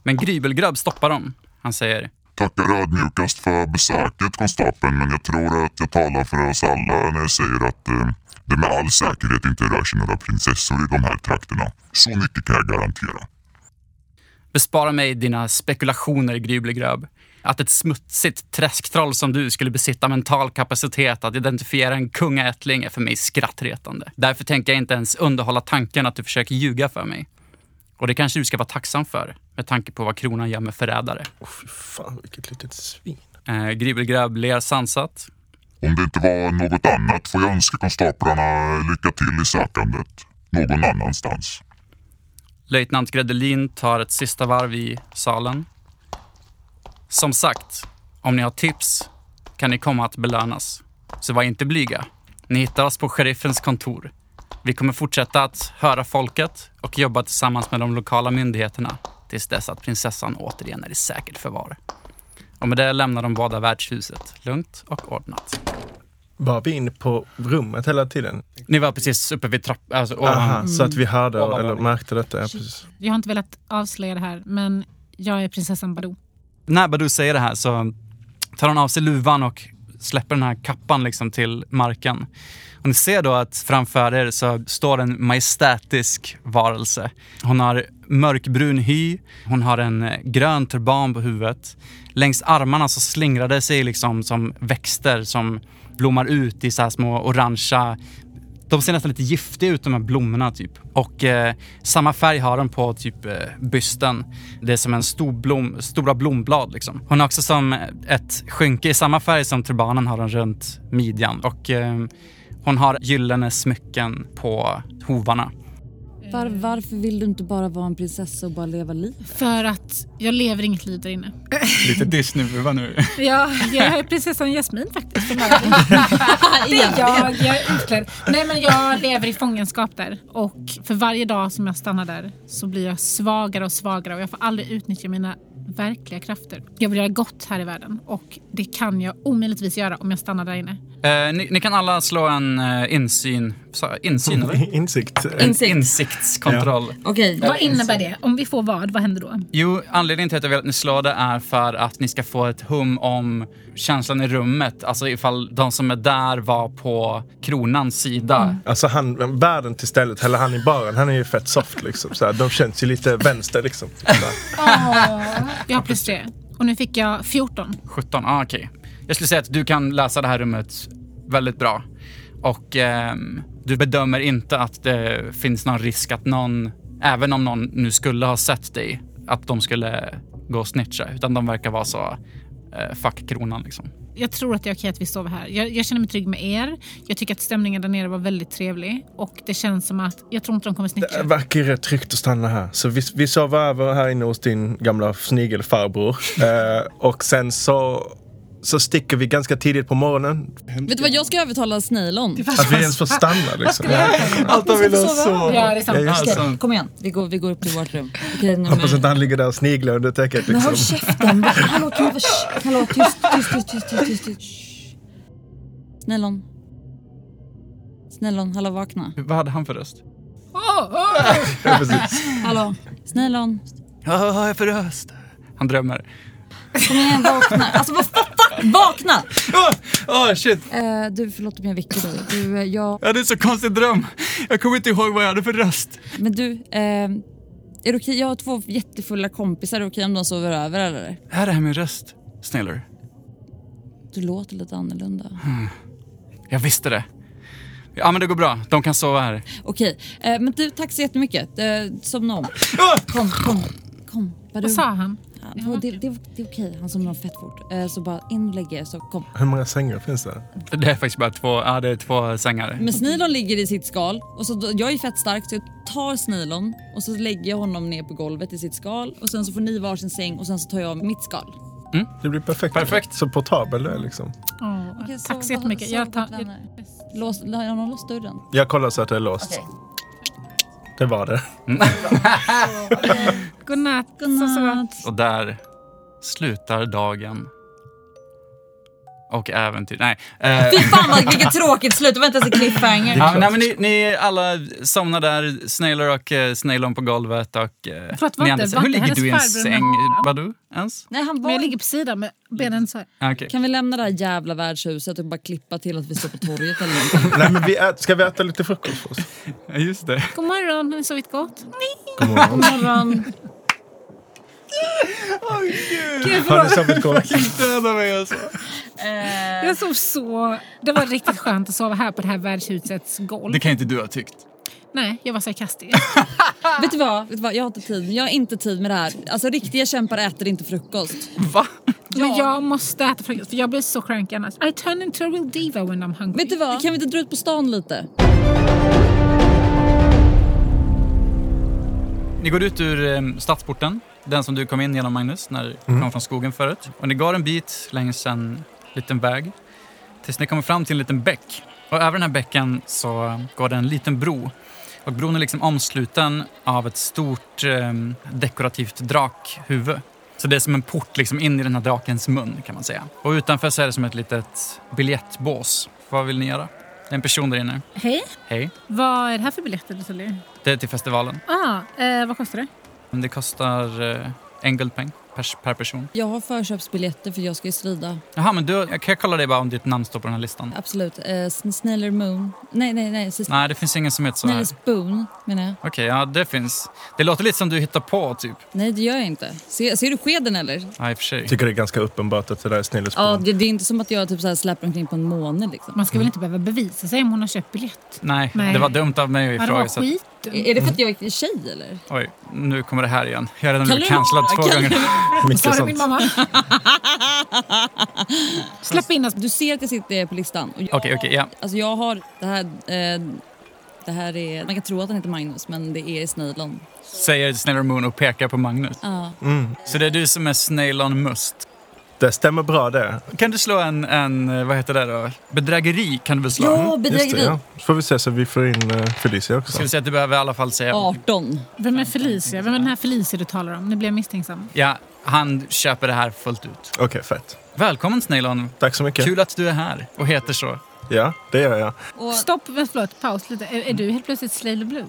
Men Grybelgrabb stoppar dem. Han säger Tackar ödmjukast för besöket konstapeln men jag tror att jag talar för oss alla när jag säger att eh, det med all säkerhet inte rör sig några prinsessor i de här trakterna. Så mycket kan jag garantera. Bespara mig dina spekulationer, Gryblegröb. Att ett smutsigt träsktroll som du skulle besitta mental kapacitet att identifiera en kungaättling är för mig skrattretande. Därför tänker jag inte ens underhålla tanken att du försöker ljuga för mig. Och det kanske du ska vara tacksam för, med tanke på vad kronan gör med förrädare. Åh fy fan, vilket litet svin. Eh, Gryblegröb ler sansat. Om det inte var något annat får jag önska konstaplarna lycka till i sökandet. Någon annanstans. Löjtnant Gredelin tar ett sista varv i salen. Som sagt, om ni har tips kan ni komma att belönas. Så var inte blyga. Ni hittar oss på sheriffens kontor. Vi kommer fortsätta att höra folket och jobba tillsammans med de lokala myndigheterna tills dess att prinsessan återigen är i säkert förvar. Och med det lämnar de båda värdshuset, lugnt och ordnat. Var vi inne på rummet hela tiden? Ni var precis uppe vid trappan, alltså Aha, ovan. så att vi hörde Ovan var eller vi. märkte detta. Ja, precis. Jag har inte velat avslöja det här, men jag är prinsessan Badoo. när Badoo säger det här så tar hon av sig luvan och släpper den här kappan liksom till marken. Och ni ser då att framför er så står en majestätisk varelse. Hon har mörkbrun hy, hon har en eh, grön turban på huvudet. Längs armarna så slingrar det sig liksom som växter som blommar ut i så här små orangea de ser nästan lite giftiga ut de här blommorna typ. Och eh, samma färg har de på typ eh, bysten. Det är som en stor blom, stora blomblad liksom. Hon har också som ett skynke i samma färg som turbanen har hon runt midjan. Och eh, Hon har gyllene smycken på hovarna. (laughs) Var, varför vill du inte bara vara en prinsessa och bara leva livet? För att jag lever inget liv där inne. (laughs) Lite Disney-buva nu. Ja, jag är prinsessan Jasmin faktiskt. från (laughs) början. Det är Igen. jag, jag är utklädd. Nej men jag lever i fångenskap där och för varje dag som jag stannar där så blir jag svagare och svagare och jag får aldrig utnyttja mina verkliga krafter. Jag vill göra gott här i världen och det kan jag omöjligtvis göra om jag stannar där inne. Eh, ni, ni kan alla slå en eh, insyn... sa- Insyn, (laughs) eller? Insikt. Insikt. Insiktskontroll. Okej, Vad innebär det? Om vi får vad, vad händer då? Jo, anledningen till att jag vill att ni slår det är för att ni ska få ett hum om känslan i rummet. Alltså ifall de som är där var på kronans sida. Alltså han bär den till stället, eller han i baren, han är ju fett soft liksom. Så här, de känns ju lite vänster liksom. Så här. Jag har plus tre och nu fick jag 14. 17, ah, okej. Jag skulle säga att du kan läsa det här rummet väldigt bra. Och ehm, du bedömer inte att det finns någon risk att någon, även om någon nu skulle ha sett dig, att de skulle gå och snitcha. Utan de verkar vara så, eh, fuck kronan liksom. Jag tror att det är okej att vi sover här. Jag, jag känner mig trygg med er. Jag tycker att stämningen där nere var väldigt trevlig och det känns som att jag tror inte de kommer Det snitcha. "Eh, verkar ju rätt tryggt att stanna här. Så vi, vi sov över här inne hos din gamla snigelfarbror. eh, och sen så, så sticker vi ganska tidigt på morgonen. Vet du vad, jag ska övertala Snailon. Att vi ens får stanna liksom. Allt han ville sova. Ja, det är sant. Ja, just det. Alltså, Kom igen, vi går, vi går upp till vårt rum. Okej, nu Hoppas inte han ligger där och sniglar under täcket Men håll liksom. käften! Va? Hallå, kan jag vara... Shh, Hallå, tyst, tyst, tyst, tyst, tyst, tyst, tyst. Shh. Snällon. Snällon, hallå vakna. vad hade han för röst? Ja, precis. Hallå. Snällon, Ja, (laughs) Vad har jag för röst? Han drömmer. kom igen vakna. Alltså vad fuck, vakna! Åh, åh, Ah! shit! Eh, du, förlåt om jag väcker dig. Du, eh, jag... Jag hade en så konstig dröm. Jag kommer inte ihåg vad jag hade för röst. Men du, eh, är det okej? Jag har två jättefulla kompisar. Är det okej om de sover över eller? Är det här min röst, Sniller? Du låter lite annorlunda. Jag visste det. Ja, men det går bra. De kan sova här. Okej, eh, men du, tack så jättemycket. Eh, somna om. Kom, kom. Kom, vad du... Vad sa han? Ja, det, var- det, det, det är okej, han somnade fett fort. Eh, Så bara in och lägg er, så kom. Hur många sängar finns det? Det är faktiskt bara två, ja, det är två sängar. Men Snilon ligger i sitt skal. Och så, då- jag är fett stark så jag tar Snilon och så lägger jag honom ner på golvet i sitt skal. Och sen så får ni varsin säng och sen så tar jag mitt skal. Det blir perfekt. Perfekt. Så portabel det är liksom. Åh, Okej, tack så så- jättemycket. så- Jag tar, jag, vänner. Lås, har någon låst dörren? Jag kollar så att det är låst. Okej. Det var det. godnatt. Så, så. Och där slutar dagen. Och äventyr. Nej. (laughs) Eh, Fy fan vad, vilket tråkigt slut, det var inte ens en (laughs) cliffhanger. ja, nej men ni, ni alla somnar där. Snailer och eh, Snailon på golvet och... Eh, Förlåt, var ni inte- andra- var Hur inte ligger du i en hennes farbror säng? med- Vadå? Ens? Nej, han Men jag var... ligger på sidan med benen så här. Ah, okej. Kan vi lämna det här jävla värdshuset och bara klippa till att vi står på torget eller (laughs) någonting? (laughs) Nej, men vi ät, ska vi äta lite frukost först? Ja, (laughs) Just det. God morgon, har ni sovit gott? God morgon. Morgon. Har ni (laughs) sovit gott? Döda mig alltså. Jag sov så... Det var riktigt skönt att sova här på det här värdshusets golv. Det kan inte du ha tyckt. Nej, jag var (laughs) sarkastisk. Vet du, vad? Vet du vad, jag har inte tid. Jag har inte tid med det här. Alltså riktiga kämpar äter inte frukost. Va? Men jag måste äta frukost för jag blir så cranky annars. I turn into a real diva when I'm hungry. Vet du vad, kan vi inte dra ut på stan lite? Ni går ut ur eh, stadsporten, den som du kom in genom Magnus när du kom från skogen förut. Och ni går en bit längs en liten väg tills ni kommer fram till en liten bäck. Och över den här bäcken så går det en liten bro. Och bron är liksom omsluten av ett stort eh, dekorativt drakhuvud. Så det är som en port liksom in i den här drakens mun kan man säga. Och utanför så är det som ett litet biljettbås. Vad vill ni göra? Det är en person där inne. Hej. Hej. Vad är det här för biljetter du säljer? Det är till festivalen. Ah, eh, vad kostar det? Det kostar eh, en guldpeng pers, per person. Jag har förköpsbiljetter för jag ska ju strida. Jaha, men du, jag kan kolla dig bara om ditt namn står på den här listan. Absolut. Eh, Sn- Snailer Moon. Nej, nej, nej. Så- Nej, det finns ingen som heter så här. Snailer Okej, Spoon menar jag. ja det finns. Det låter lite som du hittar på typ. Nej, det gör jag inte. Ser, ser du skeden eller? Ja, i och för sig. Tycker det är ganska uppenbart att det där är snillespår. Ja, det, det är inte som att jag typ så här släpper omkring på en måne liksom. Man ska väl inte behöva bevisa sig om hon har köpt biljett? Nej, Nej. det var dumt av mig Ja, att det var ifrågasätta. skit. Är är det för att jag är tjej eller? Oj, nu kommer det här igen. Jag har redan Kan blivit du- cancellad två kan du- gånger. Mycket Sa du min sånt. mamma? (laughs) Släpp in oss. Du ser att jag sitter på listan. Och jag, Okej, okej, ja. Alltså jag har det här... Eh, det här är... Man kan tro att han heter Magnus, men det är Snailon. Säger Snailor Moon och pekar på Magnus. Ja. Så det är du som är Snailon Must. Det stämmer bra det. Kan du slå en, en, eh, vad heter det då? Bedrägeri kan du väl slå? Ja, Just det, bedrägeri. ja. Så får vi se så vi får in eh, Felicia också. Ska vi säga att du behöver i alla fall säga... 18. Vem är Felicia? Vem är den här Felicia du talar om? Nu blir jag misstänksam. Ja, han köper det här fullt ut. Okej, fett. Välkommen Snailon. Tack så mycket. Kul att du är här och heter så. Ja, det gör jag. Och, Stopp, men förlåt, paus lite. Är, är du helt plötsligt Slayer Blue?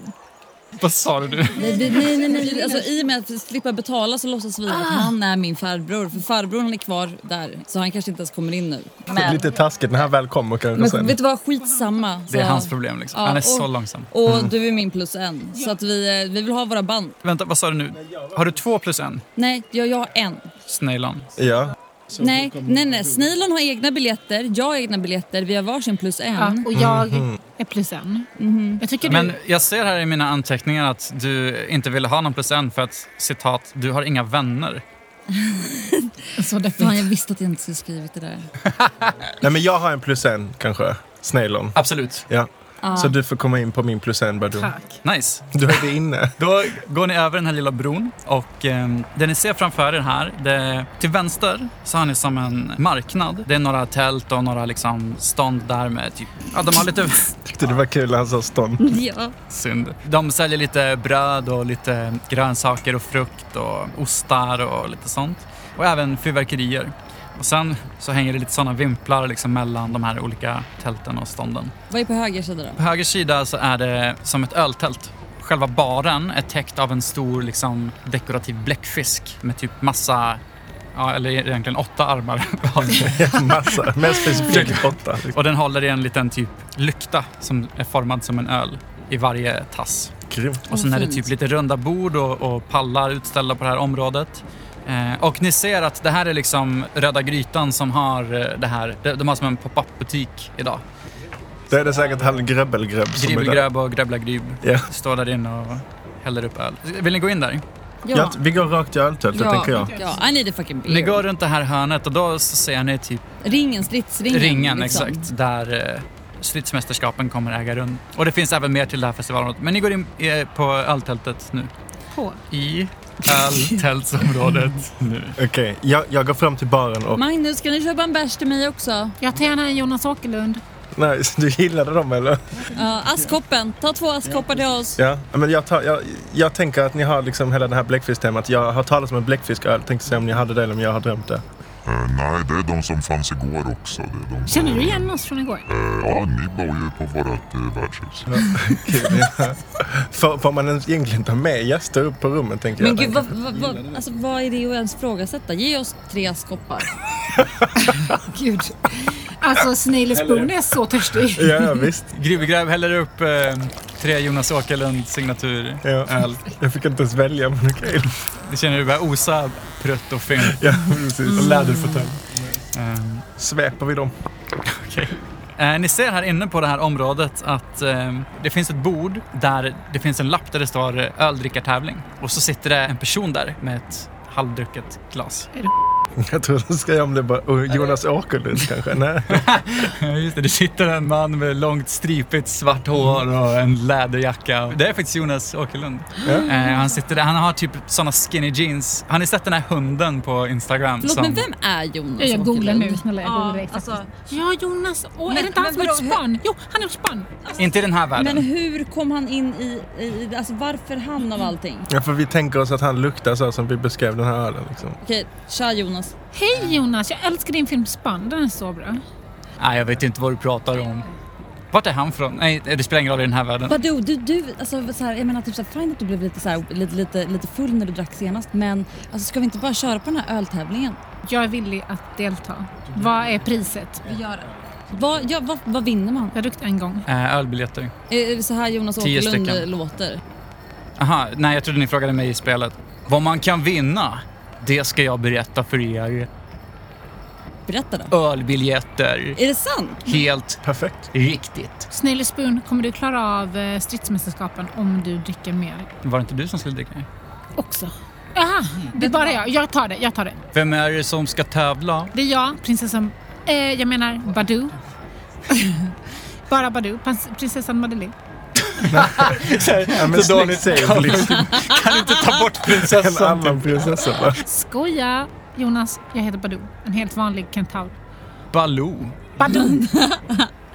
(laughs) Vad sa du? nej, vi- nej, nej, nej. Ah. Alltså, I och med att slippa betala så låtsas vi att han är min farbror. För farbror han är kvar där, så han kanske inte ens kommer in nu. Men Lite taskigt när han väl kommer kanske Men sen. vet du vad, skitsamma. Det är Så- hans problem liksom. Ja, Han är och- så långsam. Och du är min plus en. Så att vi, eh, vi vill ha våra band. Vänta, vad sa du nu? Har du två plus en? Nej, jag, jag har en. Snailon. Ja, Nej, nej, nej. Snailon har egna biljetter, jag har egna biljetter, vi har varsin plus en. Ja, och jag är plus en. Mhm. Jag tycker Mhm. Men du... jag ser här i mina anteckningar att du inte ville ha någon plus en för att citat, du har inga vänner. Så Fan, definitivt. jag visste att jag inte skulle skrivit det där. nej men jag har en plus en kanske. Snailon. Absolut. Ja. Så du får komma in på min plus en Badou. Tack. Nice. Du är det inne. Då går ni över den här lilla bron och eh, det ni ser framför er här, det, till vänster så har ni som en marknad. Det är några tält och några liksom stånd där med typ, ja de har lite Tyckte det var kul när han sa stånd. Ja. synd. De säljer lite bröd och lite grönsaker och frukt och ostar och lite sånt. Och även fyrverkerier. Och sen så hänger det lite sådana vimplar liksom mellan de här olika tälten och stånden. Vad är på höger sida då? På höger sida så är det som ett öltält. Själva baren är täckt av en stor liksom, dekorativ bläckfisk med typ massa, ja, eller egentligen åtta armar. (laughs) (laughs) Massa. Mest specifikt åtta. och den håller i en liten typ lykta som är formad som en öl i varje tass. Grymt. Och sen är det fint. typ lite runda bord och, och pallar utställda på det här området. Eh, och ni ser att det här är liksom Röda Grytan som har eh, det här. De, de har som en pop-up butik idag. Då är det säkert han Grebbelgrebb som är där. Gribbelgröb och Grebblagrib Ja. står där inne och häller upp öl. Vill ni gå in där? Ja, vi går rakt i öltältet tänker jag. ja. I need a fucking beer. Ni går runt det här hörnet och då så ser ni typ Ringen, stridsringen. ringen liksom. exakt där eh, stridsmästerskapen kommer äga rum. Och det finns även mer till det här festivalområdet. Men ni går in eh, på öltältet nu. På. (laughs) I öltältsområdet nu. Okej, jag, jag går fram till baren och... Magnus, kan du köpa en bärs till mig också? Jag tar gärna en Jonas Åkerlund. Nej, (laughs) du gillade dem eller? Ja, askkoppen, ta två askkoppar till oss. Ja. Men jag, tar, jag, jag tänker att ni har liksom hela det här bläckfisktemat. Jag har talat om en bläckfisköl. Tänkte se om ni hade det eller om jag har drömt det. Eh, nej, det är de som fanns igår också. Det är de som, Känner du igen oss från igår? Eh, ja, ni bor ju på vårt eh, värdshus. (laughs) Får, får man ens egentligen ta med gäster upp på rummen tänker Men jag. gud, vad, vad, vad, alltså, vad är det att ens frågasätta? Ge oss tre askkoppar. Gud. Alltså, Snailers Boon är så törstig. (laughs) Ja, ja, visst. Gribbelgröb häller upp eh, tre Jonas Åkerlund signatur Ja. öl. Jag fick inte ens välja men okej. Det känner du börjar osa prutt och (laughs) fynk. Ja, precis. Och läderfåtölj. Ehm, Sveper vi dem? Eh, ni ser här inne på det här området att eh, det finns ett bord där det finns en lapp där det står eh, öldrickartävling. Och så sitter det en person där med ett halvdrucket (laughs) glas. (laughs) Jag tror de ska göra om det bara... Och Jonas Åkerlund kanske? (laughs) Nej. Just det, det sitter en man med långt stripigt svart hår och en läderjacka. Det är faktiskt Jonas Åkerlund. Eh, han, sitter där, han har typ såna skinny jeans. Har ni sett den här hunden på Instagram? Förlåt, men vem är Jonas Jag Åkerlund? googlar nu, snälla. Jag googlar Ja, direkt. alltså, Ja, Jonas. Åh, är Men- det inte han men som har gjort vadå, span? Jo, han har gjort span. Inte i den här världen. men hur kom han in i, i, i alltså varför han av allting? Ja, för vi tänker oss att han luktar så här som vi beskrev den här ölen liksom. Okej, tja Jonas. Hej Jonas, jag älskar din film Span. Den är så bra. Nej, jag vet inte vad du pratar om. Vart är han från? Nej, det spelar ingen roll i den här världen. Badou, du, du, alltså, så här, jag menar typ så här, fine att du blev lite, så här, lite, lite, lite full när du drack senast men alltså, ska vi inte bara köra på den här öltävlingen? Jag är villig att delta. Vad är priset? Vi gör det. Vad, ja, vad, vad vinner man? Jag har druckit en gång. Eh, ölbiljetter. Är är det så här Jonas Tio Åkerlund eh, stycken. låter? Aha, nej jag trodde ni frågade mig i spelet. Vad man kan vinna, det ska jag berätta för er. Berätta då. Ölbiljetter. Är det sant? Helt Perfekt. riktigt. Snailey Spoon, kommer du klara av eh, stridsmästerskapen om du dricker mer Var det inte du som skulle dricka? också? Aha, Mm. det är bara jag. Jag tar det, jag tar det. Vem är det som ska tävla? Det är jag, prinsessan... Eh, jag menar Badoo. (laughs) bara Badoo, prins- prinsessan Madeleine. Ja, men Så Daniel snyggt säger Blix. Kan inte ta bort (laughs) En prinsessan? annan prinsessa bara. Skoja! Jonas, jag heter Badoo. En helt vanlig kentaur. Baloo. Badoo! (laughs)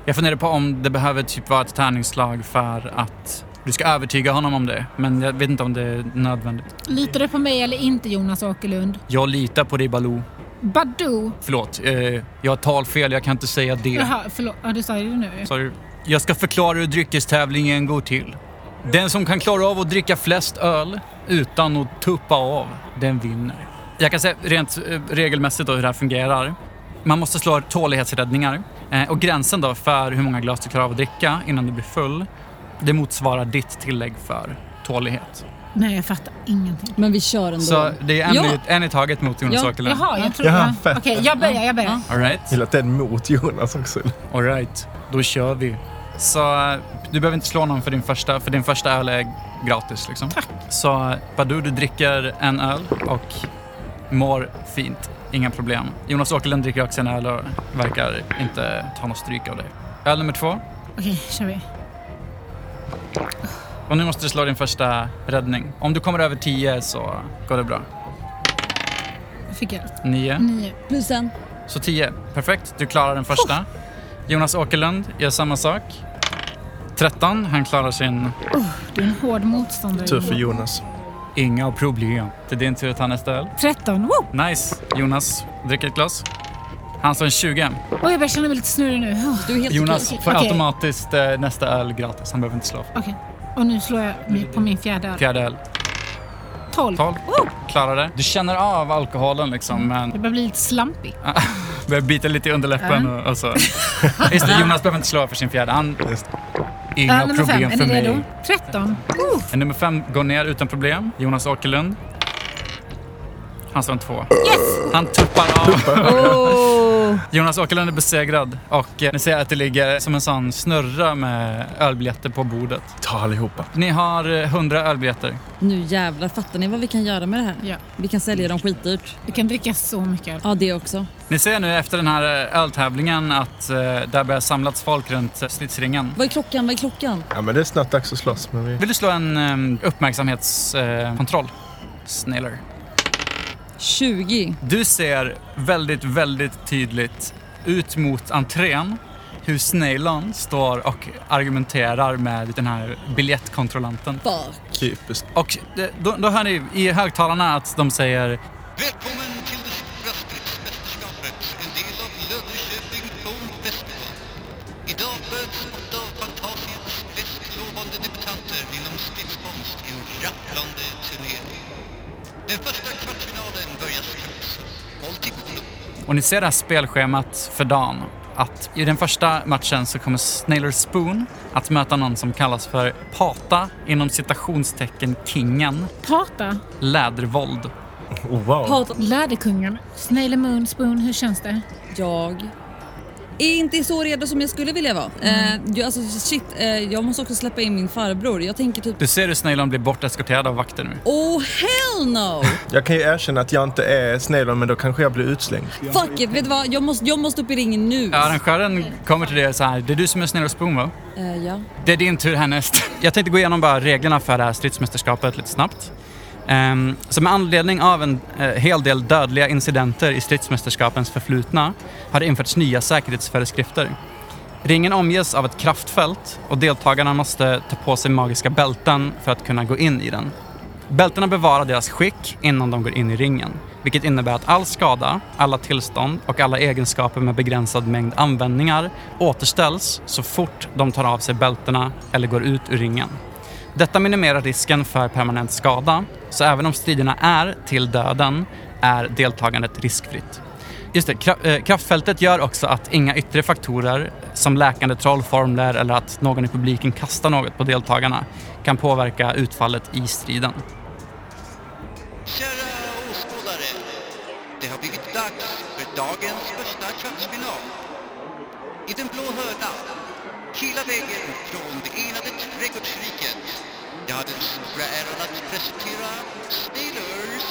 Jag funderar på om det behöver typ vara ett tärningsslag för att du ska övertyga honom om det. Men jag vet inte om det är nödvändigt. Litar du på mig eller inte Jonas Åkerlund? Jag litar på dig Baloo. Badoo! Förlåt, eh, jag har talfel. Jag kan inte säga det. Jaha, förlåt. Ja, du sa det nu. Sorry. Jag ska förklara hur dryckestävlingen går till. Den som kan klara av att dricka flest öl utan att tuppa av, den vinner. Jag kan säga rent eh, regelmässigt då hur det här fungerar. Man måste slå tålighetsräddningar. Eh, Och gränsen då för hur många glas du klarar av att dricka innan du blir full, det motsvarar ditt tillägg för tålighet. Nej, jag fattar ingenting. Men vi kör ändå. Så det är en, Ja. i- en i taget mot Jonas Ja. Åkerlund. Jaha, jag tror... Jaha, ja. fett. Okej, jag börjar, jag börjar. Ja. All right. Till att det är mot Jonas också. All right, då kör vi. Så eh, du behöver inte slå någon för din första, för din första öl är gratis liksom. Tack. Så eh, Badou, du dricker en öl och mår fint. Inga problem. Jonas Åkerlund dricker också en öl och verkar inte ta något stryk av dig. Öl nummer två. Okej, kör vi. Och nu måste du slå din första räddning. Om du kommer över tio så går det bra. Jag fick hjälp. Nio. Nio. Plus en. Så tio. Perfekt, du klarar den första. Jonas Åkerlund gör samma sak. 13. Han klarar sin Du är en hård motståndare. Tur för Jonas. Inga problem. Det är din tur att ta nästa öl. 13. Woo! Nice. Jonas dricker ett glas. Han står en 20. Oj, jag börjar känna mig lite snurrig nu. Oh, Du är helt Jonas okej. får Okej. automatiskt eh, nästa öl gratis. Han behöver inte slå. Okej. Och nu slår jag mig på min fjärde öl. Fjärde öl. 12. 12. Klarar det. Du känner av alkoholen liksom, Det men börjar bli lite slampig. börjar bita lite i underläppen och, och så. (laughs) Just det, Jonas behöver inte slå för sin fjärde. Han... Inga Öl nummer fem. problem Är för ni mig. redo? 13. Oh, En Nummer fem går ner utan problem. Jonas Åkerlund. Han står en två. yes! Han tuppar av. Oh. Jonas Åkerlund är besegrad och eh, ni ser att det ligger som en sån snurra med ölbiljetter på bordet. Ta allihopa. Ni har eh, 100 ölbiljetter. Nu jävlar, fattar ni vad vi kan göra med det här? Ja. Vi kan sälja dem skitdyrt. Du kan dricka så mycket öl. Ja, det också. Ni ser nu efter den här eh, öltävlingen att eh, där börjar samlats folk runt eh, stridsringen. Vad är klockan? Vad är klockan? Ja, men det är snart dags att slåss. Men vi... Vill du slå en eh, uppmärksamhetskontroll? Snäller. 20. Du ser väldigt, väldigt tydligt ut mot entrén hur Snailan står och argumenterar med den här biljettkontrollanten. Fuck. Typiskt. Och det- då, då hör ni i högtalarna att de säger Välkommen till det stora stridsmästerskapet, en del av Löddeköping Bowl Festival. Idag föds åtta av fantasiens mest lovande debutanter inom stridskonst i en rattlande turnering. Den första kvartsfinalen börjar strax. Håll till godo. Och ni ser det här spelschemat för dagen. Att i den första matchen så kommer Snailer Spoon att möta någon som kallas för Pata inom citationstecken Kingen Prata. Lädervold. Oh, wow. Hatar Läderkungen. Snail and Moon Spoon, hur känns det? jag. Är inte så redo som jag skulle vilja vara. Eh, jag, alltså, shit, eh, jag måste också släppa in min farbror. Jag tänker typ... Du ser hur Snailan blir borteskorterad av vakter nu. Oh hell no! Jag kan ju erkänna att jag inte är snäll, men då kanske jag blir utslängd. Fuck it, vet du vad? Jag måste, jag måste upp i ringen nu. Arrangören kommer till dig och säger det är du som är Snailer Spoon va? Eh, ja. Det är din tur härnäst. Jag tänkte gå igenom bara reglerna för det här stridsmästerskapet lite snabbt. Ehm, så med anledning av en eh, hel del dödliga incidenter i stridsmästerskapens förflutna har det införts nya säkerhetsföreskrifter. Ringen omges av ett kraftfält och deltagarna måste ta på sig magiska bälten för att kunna gå in i den. Bältena bevarar deras skick innan de går in i ringen, vilket innebär att all skada, alla tillstånd och alla egenskaper med begränsad mängd användningar återställs så fort de tar av sig bältena eller går ut ur ringen. Detta minimerar risken för permanent skada, så även om striderna är till döden är deltagandet riskfritt. Just det, kra- eh, kraftfältet gör också att inga yttre faktorer som läkande trollformler eller att någon i publiken kastar något på deltagarna kan påverka utfallet i striden. Kära åskådare, det har blivit dags för dagens första kvartsfinal. I den blå hörnan, hela vägen från det enade trädgårdsriket. Jag har den stora äran att presentera Steelers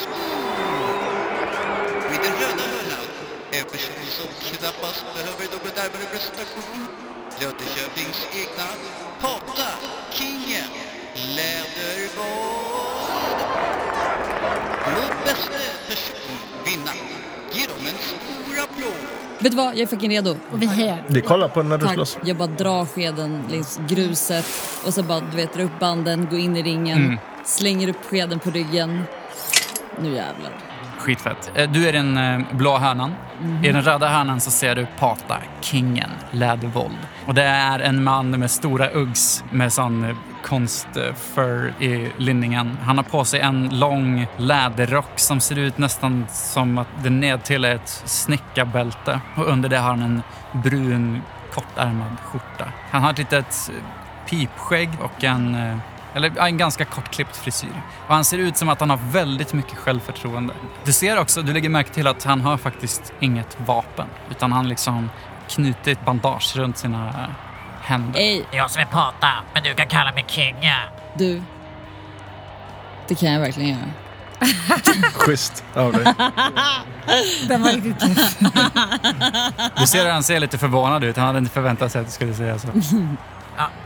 knappast behöver någon närmare presentation. Löddeköpings egna Pata Kingen Lädervold. Låt bästa person vinna. Ge dem en stor applåd. Vet du vad, jag är fucking redo. Och vi här. Vi kollar på den när du Tack. slåss. Jag bara drar skeden längs gruset och så bara du vet, drar upp banden, går in i ringen, slänger upp skeden på ryggen. Nu jävlar. Skitfett. Eh, Du är den eh, blå hörnan. I den röda hörnan så ser du Pata, kingen, Lädervold. Och det är en man med stora uggs med sån eh, konstfur i linningen. Han har på sig en lång läderrock som ser ut nästan som att den nedtill är ett snickarbälte. Och under det har han en brun kortärmad skjorta. Han har ett litet eh, pipskägg och en eh, eller ja, en ganska kortklippt frisyr. Och han ser ut som att han har väldigt mycket självförtroende. Du ser också, du lägger märke till att han har faktiskt inget vapen. Utan han liksom knutit bandage runt sina eh, händer. Ey, Jag som är Pata, men du kan kalla mig Kinga. du. Det kan jag verkligen göra. Schysst av dig. Den var riktigt tuff. Du ser hur han ser lite förvånad ut. Han hade inte förväntat sig att du skulle säga så.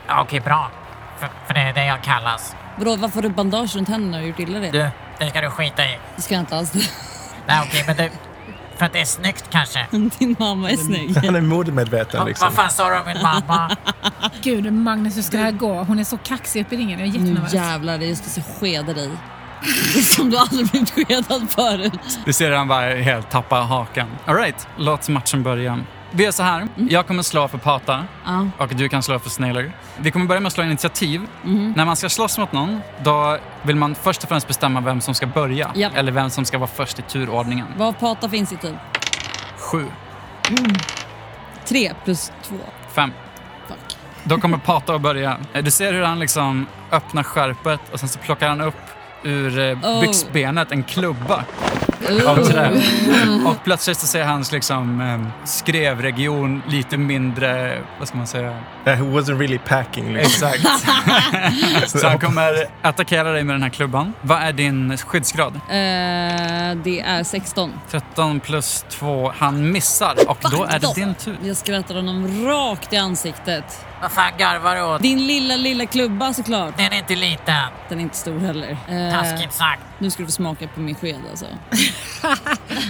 Ja, Okej, bra. För, för det är det jag kallas. Vadå, varför har du bandage runt händerna? Har du gjort illa dig? Du, det ska du skita i. Det ska jag inte alls. (laughs) Nej, okej, men du... För att det är snyggt kanske. Din mamma är snygg. Han är modemedveten Vad- Vad liksom. fan sa du om min mamma? Gud, Magnus, hur ska det här gå? Hon är så kaxig uppe i ringen. Jag är Nu jättenervös. Mm, jävlar, det är just det som skedar dig. (laughs) Som du aldrig blivit skedad förut. Du ser hur han bara helt tappar hakan. Alright, låt matchen börja. Vi gör så här. Jag kommer slå för Pata. Ja. Och du kan slå för Snailer. Vi kommer börja med att slå initiativ. Mhm. När man ska slåss mot någon, då vill man först och främst bestämma vem som ska börja. Ja. Eller vem som ska vara först i turordningen. Vad Pata finns i typ? Sju, Tre plus två. fem. Fuck. Då kommer Pata att börja. Eh, Du ser hur han liksom öppnar skärpet och sen så plockar han upp ur eh, Oh. byxbenet en klubba av trä. Och plötsligt så ser hans liksom, eh, skrevregion lite mindre, vad ska man säga, Eh, He wasn't really packing liksom. (laughs) Exakt. så han kommer attackera dig med den här klubban. Vad är din skyddsgrad? Eh, det är 16. 13 plus 2. Han missar och då är det din tur. Jag skrattar honom rakt i ansiktet. Vad fan garvar du åt? Din lilla, lilla klubba såklart. Den är inte liten. Den är inte stor heller. Eh, Taskigt sagt. nu ska du få smaka på min sked alltså.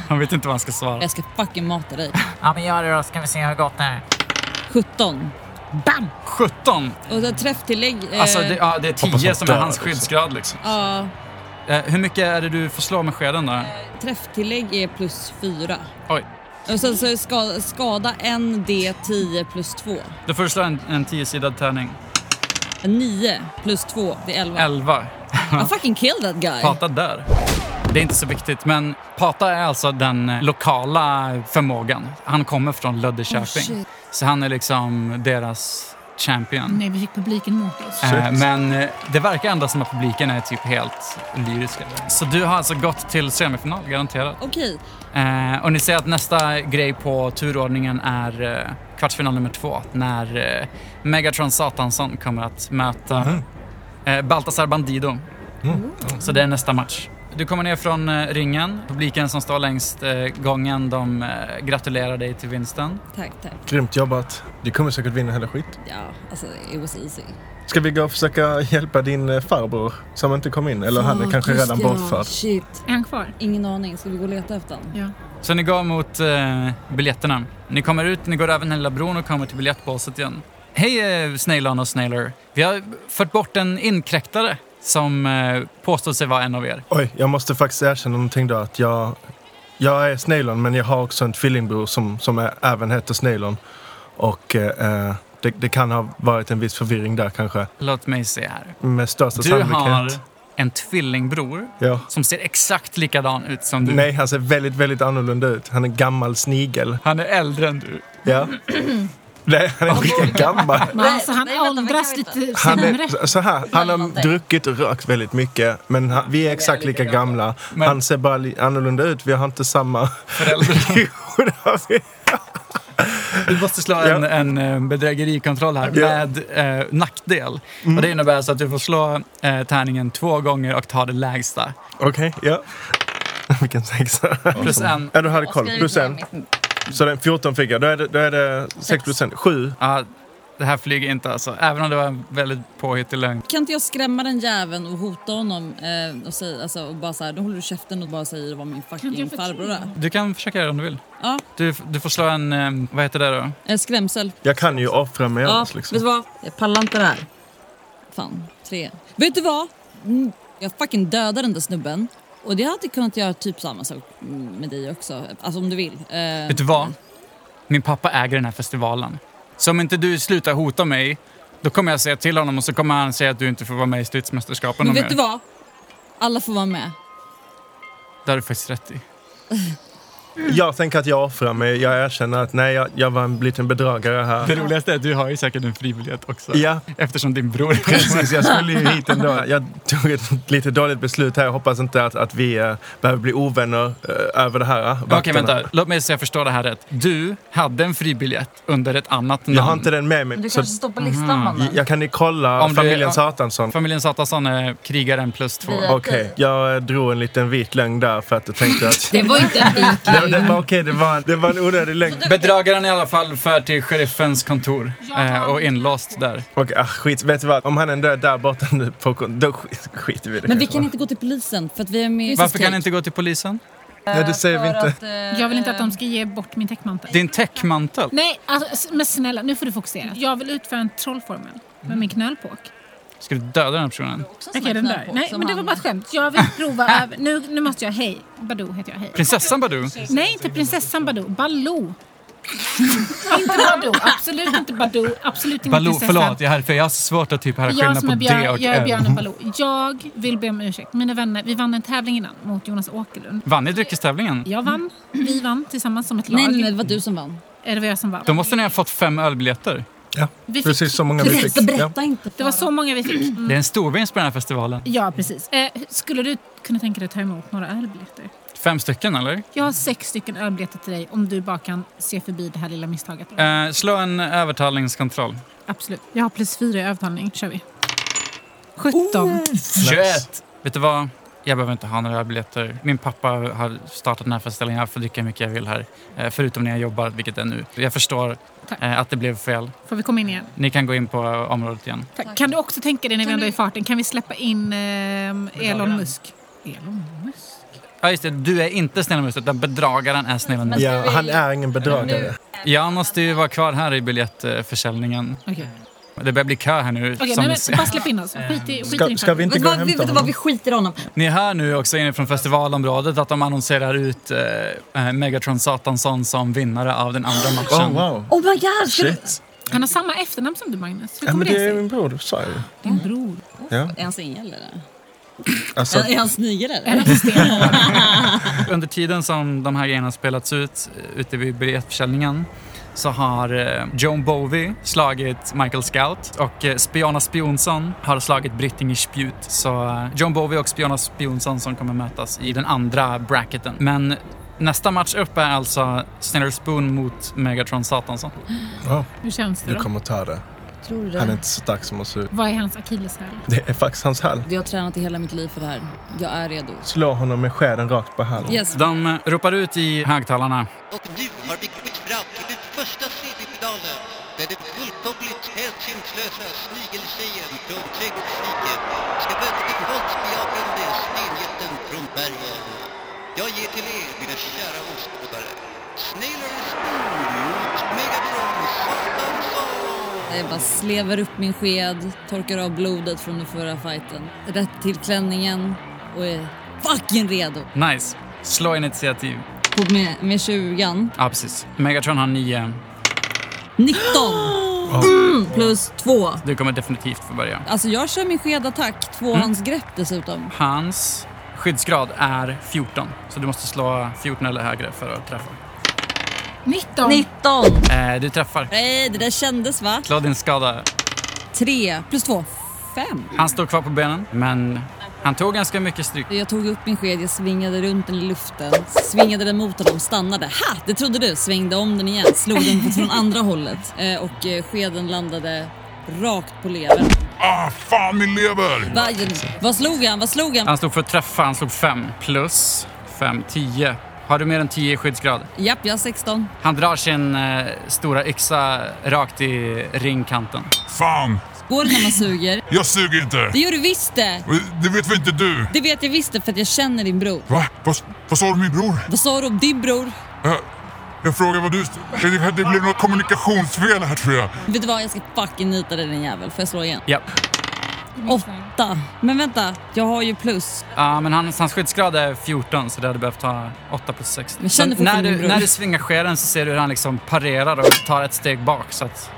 Han vet inte vad han ska svara. Jag ska fucking mata dig. Ja, men gör det då, ska vi se hur gott det är. 17. 17! Och så träfftillägg. eh, Alltså det, ja, det är Hoppas 10 han som är dör hans också. skyddsgrad liksom. ja, Eh, hur mycket är det du får slå med skeden då? träfftillägg är plus 4. Oj. Och sen så är ska, skada 1D10 plus 2. Då får du slå en, en 10-sidad tärning. 9 plus 2, det är 11. 11. I fucking killed that guy. Pata där. Det är inte så viktigt, men Pata är alltså den eh, lokala förmågan. Han kommer från Löddeköping. shit. så han är liksom deras champion. Nej, vi fick publiken mot oss. Eh, Men eh, det verkar ändå som att publiken är typ helt lyriska. Så du har alltså gått till semifinal, garanterat. Okej, Eh, Och ni ser att nästa grej på turordningen är eh, kvartsfinal nummer två när eh, Megatron Satansson kommer att möta eh, Baltasar Bandido. Så det är nästa match. Du kommer ner från eh, ringen. Publiken som står längst eh, gången, de eh, gratulerar dig till vinsten. tack, tack. Grymt jobbat. Du kommer säkert vinna hela skit. Ja, alltså it was easy. Ska vi gå och försöka hjälpa din eh, farbror som inte kom in? Eller han är Fuck, kanske just redan ja. bortförd. Shit, Är han kvar? ingen aning. Ska vi gå och leta efter honom? Ja. Så ni går mot eh, biljetterna. Ni kommer ut, ni går över den här lilla bron och kommer till biljettbåset igen. Hej eh, Snailon och Snailer. Vi har fört bort en inkräktare som eh, påstod sig vara en av er. Oj, jag måste faktiskt erkänna någonting då. Att jag, jag är Snailon, men jag har också en tvillingbror som, som är, även heter Snailon. Och eh, eh, det, det kan ha varit en viss förvirring där kanske. Låt mig se här. Med största Du sannolikhet. har en tvillingbror Ja. som ser exakt likadan ut som du. Nej, han ser väldigt, väldigt annorlunda ut. Han är gammal snigel. Han är äldre än du. (laughs) Ja. Nej, han är inte lika gammal. Men alltså, han nej, vänta, vänta, åldras vänta. lite Han sämre. är så här, han har druckit och rökt väldigt mycket. Men han, vi är exakt lika gamla. Men- Han ser bara li- annorlunda ut. Vi har inte samma... (laughs) Föräldrar. Jo, det har vi. Du måste slå en, en eh, bedrägerikontroll här Ja. Mm. med eh, nackdel. Och det innebär så att du får slå eh, tärningen två gånger och ta det lägsta. Okej, ja. Vilken sexa. Plus en. Ja, du hade koll. Plus en. Så den 14 fick jag. Då är det, då är det 6 procent. 7. Ja, det här flyger inte alltså. Även om det var en väldigt påhittig lögn. Kan inte jag skrämma den jäveln och hota honom eh, och, säga, alltså, och bara så här, då håller du käften och bara säger vad min inte fucking jag farbror är. Du kan försöka göra det om du vill. Ja. Du, du får slå en, eh, vad heter det då? Eh, skrämsel. Jag kan ju offra mig Ja, annars liksom. vet du vad? Jag pallar inte det här. Fan, tre. Vet du vad? Mm, Jag fucking dödar den där snubben. Och det hade kunnat göra typ samma sak mm, med dig också. Alltså om du vill. Eh, Vet du vad? Min pappa äger den här festivalen. Så om inte du slutar hota mig, då kommer jag säga till honom och så kommer han säga att du inte får vara med i stridsmästerskapen Men och vet du vad? Alla får vara med. Det har du faktiskt rätt i. Jag tänker att jag offrar mig. Jag erkänner att nej, jag, jag var en liten bedragare Det här. roligaste är att du har ju säkert en frivillighet också. Ja, Eftersom din bror (laughs) precis. Jag skulle ju hit ändå. Jag tog ett lite dåligt beslut här. Jag hoppas inte att, att vi eh, behöver bli ovänner eh, över det här. eh, Okej, vakterna. vänta. Låt mig se jag förstår det här rätt. Du hade en fribiljett under ett annat namn. Jag har inte den med Men mig. du Så kanske står på listan, mannen. jag kan ju kolla Om du- familjen ja. Satansson. Familjen Satansson är krigaren plus två. Vi är- Okej, jag eh, drog en liten vit lögn där för att jag tänkte att... (laughs) Det var (laughs) ju inte det, det var okej, det, var, en- det var en onödig lögn. Bedragaren i alla fall för till sheriffens kontor eh, och inlåst där. Okej, ah, skit. Vet du vad? Om han ändå är där borta nu på kon- då skit, skiter vi i det. Men vi kanske. kan inte gå till polisen för att vi är med i Varför kan Take. ni inte gå till polisen? Nej, det säger vi För inte. att, eh, Jag vill inte att de ska ge bort min täckmantel. Din täckmantel. Nej, alltså, s- men snälla, nu får du fokusera. Jag vill utföra en trollformel med min knölpåk. Ska du döda den här personen? Också Okej, såna den där. knölpåk Nej, Mm. som men det var han- bara ett skämt. Jag (laughs) vill prova över. Nu, nu måste jag, hej. Badoo heter jag, hej. Prinsessan Badoo? Nej, inte prinsessan Badoo. Baloo. (laughs) inte Badoo. Absolut inte Badoo. Absolut inte Baloo, prinsessan. förlåt, jag, är för jag har svårt att typ höra Jag skillnad som på är björn, det och jag är N. björnen Baloo. Jag vill be om ursäkt. Mina vänner, vi vann en tävling innan mot Jonas Åkerlund. Vann ni dryckestävlingen? Jag vann, vi vann tillsammans som ett lag. Mm. Nej, nej, nej, det var du som vann. Eh, Det var jag som vann. Då måste ni ha fått fem ölbiljetter. Ja, Vi precis så många vi Precis, fick. så Ja. berätta inte. Det var så många vi fick. Mm. Det är en storvinst på den här festivalen. Ja, precis. Eh, skulle du kunna tänka dig att ta emot några ölbiljetter? Fem stycken eller? Jag har sex stycken ölbiljetter till dig om du bara kan se förbi det här lilla misstaget. Äh. Eh, slå en övertalningskontroll. Absolut. Jag har plus fyra i övertalning. kör Oh, vi. 17. 21! Vet du vad? Jag behöver inte ha några biljetter. Min pappa har startat den här föreställningen. Jag får dricka hur mycket jag vill här. Eh, Förutom när jag jobbar, vilket är nu. Jag förstår Tack. eh, att det blev fel. Får vi komma in igen? Ni kan gå in på eh, området igen. Tack. Kan du också tänka dig när vi ändå är i farten, kan vi släppa in ehm, Elon Musk? Elon Musk? Ja, just det. Du är inte snäll mot utan bedragaren är snäll mot Ja, han är ingen bedragare. Jag måste ju vara kvar här i biljettförsäljningen. Okej, Äh, okay. Det börjar bli kö här nu. som nej, ni, men, ser. bara släpp in oss. Skit i, skit i Ska, din ska vi inte Vet du gå och vad, vi, hämta vet du vad, vi honom? skiter i honom. ni hör nu också inifrån festivalområdet att de annonserar ut eh, eh, Megatron Satansson som vinnare av den andra matchen. Oh, wow. Oh my god! ska du- Shit. Han har samma efternamn som du, Magnus. Hur Ja, kommer men det är det sig? min bror, du sa ju. Din bror. Ja. Är han singel eller? Alltså, Är han snigel eller? Under tiden som de här grejerna spelats ut eh, ute vid biljettförsäljningen så har eh, Joan Bowie slagit Michael Scout och eh, Spiona Spionsson har slagit Britting i spjut. Så eh, Joan Bowie och Spiona Spionsson som kommer mötas i den andra bracketen. Men nästa match upp är alltså Snare Spoon mot Megatron Satansson. wow. Hur känns det Du då? kommer ta det. Tror du Han är det? inte så stark som oss. Vad är hans akilleshäl? Det är faktiskt hans hall. Jag har tränat i hela mitt liv för det här. Jag är redo. Slå honom med skeden rakt på hallen. Yes. De eh, ropar ut i högtalarna. Och nu har vi kommit fram till den första semifinalen där den fullkomligt hänsynslösa snigeltjejen från Trädgårdsriket ska möta den våldsbejakande stenjätten från bergen. Jag ger till er, mina kära åskådare, Snailor Spoon mot Megatron Satansson! Jag bara slevar upp min sked, torkar av blodet från den förra fighten. Rätt till klänningen och är fucking redo. Nice. Slå initiativ. På med, med 20 Ja, precis. Megatron har nio. 19 mm, plus 2. Du kommer definitivt få börja. Alltså jag kör min skedattack, tvåhandsgrepp Mm. dessutom. Hans skyddsgrad är 14, så du måste slå 14 eller högre för att träffa. 19! 19! Eh, du träffar. Nej, det där kändes va? Slå din skada. 3 plus 2, 5. Han står kvar på benen, men han tog ganska mycket stryk. Jag tog upp min sked, jag svingade runt den i luften, svingade den mot honom, stannade. Ha! Det trodde du! Svängde om den igen, slog den från andra hållet Eh, och eh, skeden landade rakt på levern. Ah, fan min lever! Va, vad slog han? Vad slog han? Han stod för att träffa, han slog 5 plus 5, 10. Har du mer än 10 i skyddsgrad? Japp, jag har 16. Han drar sin eh, stora yxa rakt i ringkanten. Fan! Går det när man suger? Jag suger inte! Det gör du visst det! Det vet väl inte du? Det vet jag visst det för att jag känner din bror. Va? Vad, vad sa du min bror? Vad sa du om din bror? Jag, jag frågar vad du... Det, det blev något kommunikationsfel här tror jag. Vet du vad, jag ska fucking nita dig din jävel. Får jag slå igen? Ja. Åtta. Men vänta, jag har ju plus. Ja, men hans, hans skyddsgrad är 14 så det hade behövt ha 8 plus 6. Jag känner Men när, fortfarande min du, bror. när du svingar skeden så ser du hur han liksom parerar och tar ett steg bak så att...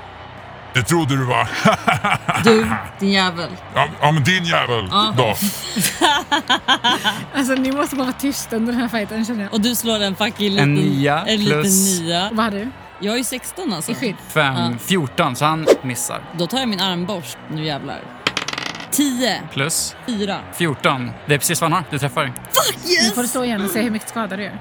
Det trodde du va? Du, (laughs) din jävel. Ja, ja men din jävel då. Alltså ni måste bara vara tysta under den här fighten känner jag. Och du slår en fucking liten... En nia En plus- liten nia. Vad har du? Jag har ju 16 alltså. I skydd? 5, Ja. 14 så han missar. Då tar jag min armborst. Nu jävlar. 10. Plus 4. 14. Det är precis vad han har. Du träffar. Nu får du slå igen och se hur mycket skada du gör.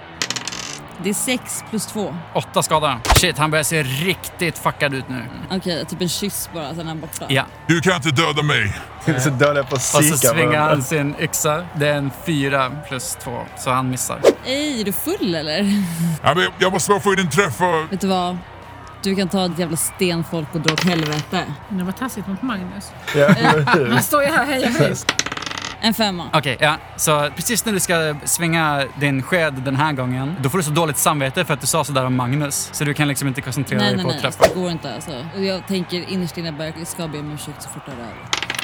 Det är 6 plus 2. 8 skada. Shit, han börjar se riktigt fuckad ut nu. Okej, typ en kyss bara, sen är han borta. Ja. Du kan inte döda mig. Så dör jag på att Och så sika svingar varandra. han sin yxa. Det är en 4 plus 2 så han missar. Ej, är du full eller? (laughs) Ja, men jag- jag måste bara få in en träff och... Vet du vad? Du kan ta ett jävla stenfolk och dra åt helvete. Det var taskigt mot Magnus. Eh, Ja, men hur? Han står ju här och hejar mig. En femma. Okej, ja. Så precis när du ska svinga din sked den här gången, då får du så dåligt samvete för att du sa sådär om Magnus. Så du kan liksom inte koncentrera Nej, dig nej, på att nej. träffa. Det går inte alltså. Och jag tänker innerst inne bara, jag ska be om ursäkt så fort det är över.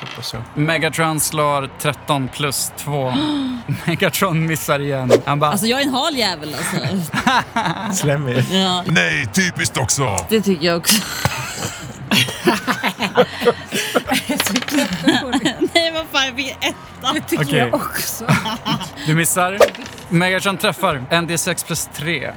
Hoppas jag. Megatron slår 13 plus (gasps) 2. Megatron missar igen. Han bara... Alltså jag är en hal jävel alltså. Slemmig. (laughs) ja, Nej, typiskt också. det tycker jag också. nej vad fan, jag fick ett. Det tycker Okej. jag också. (laughs) Du missar. Megatron träffar. En D6 plus 3.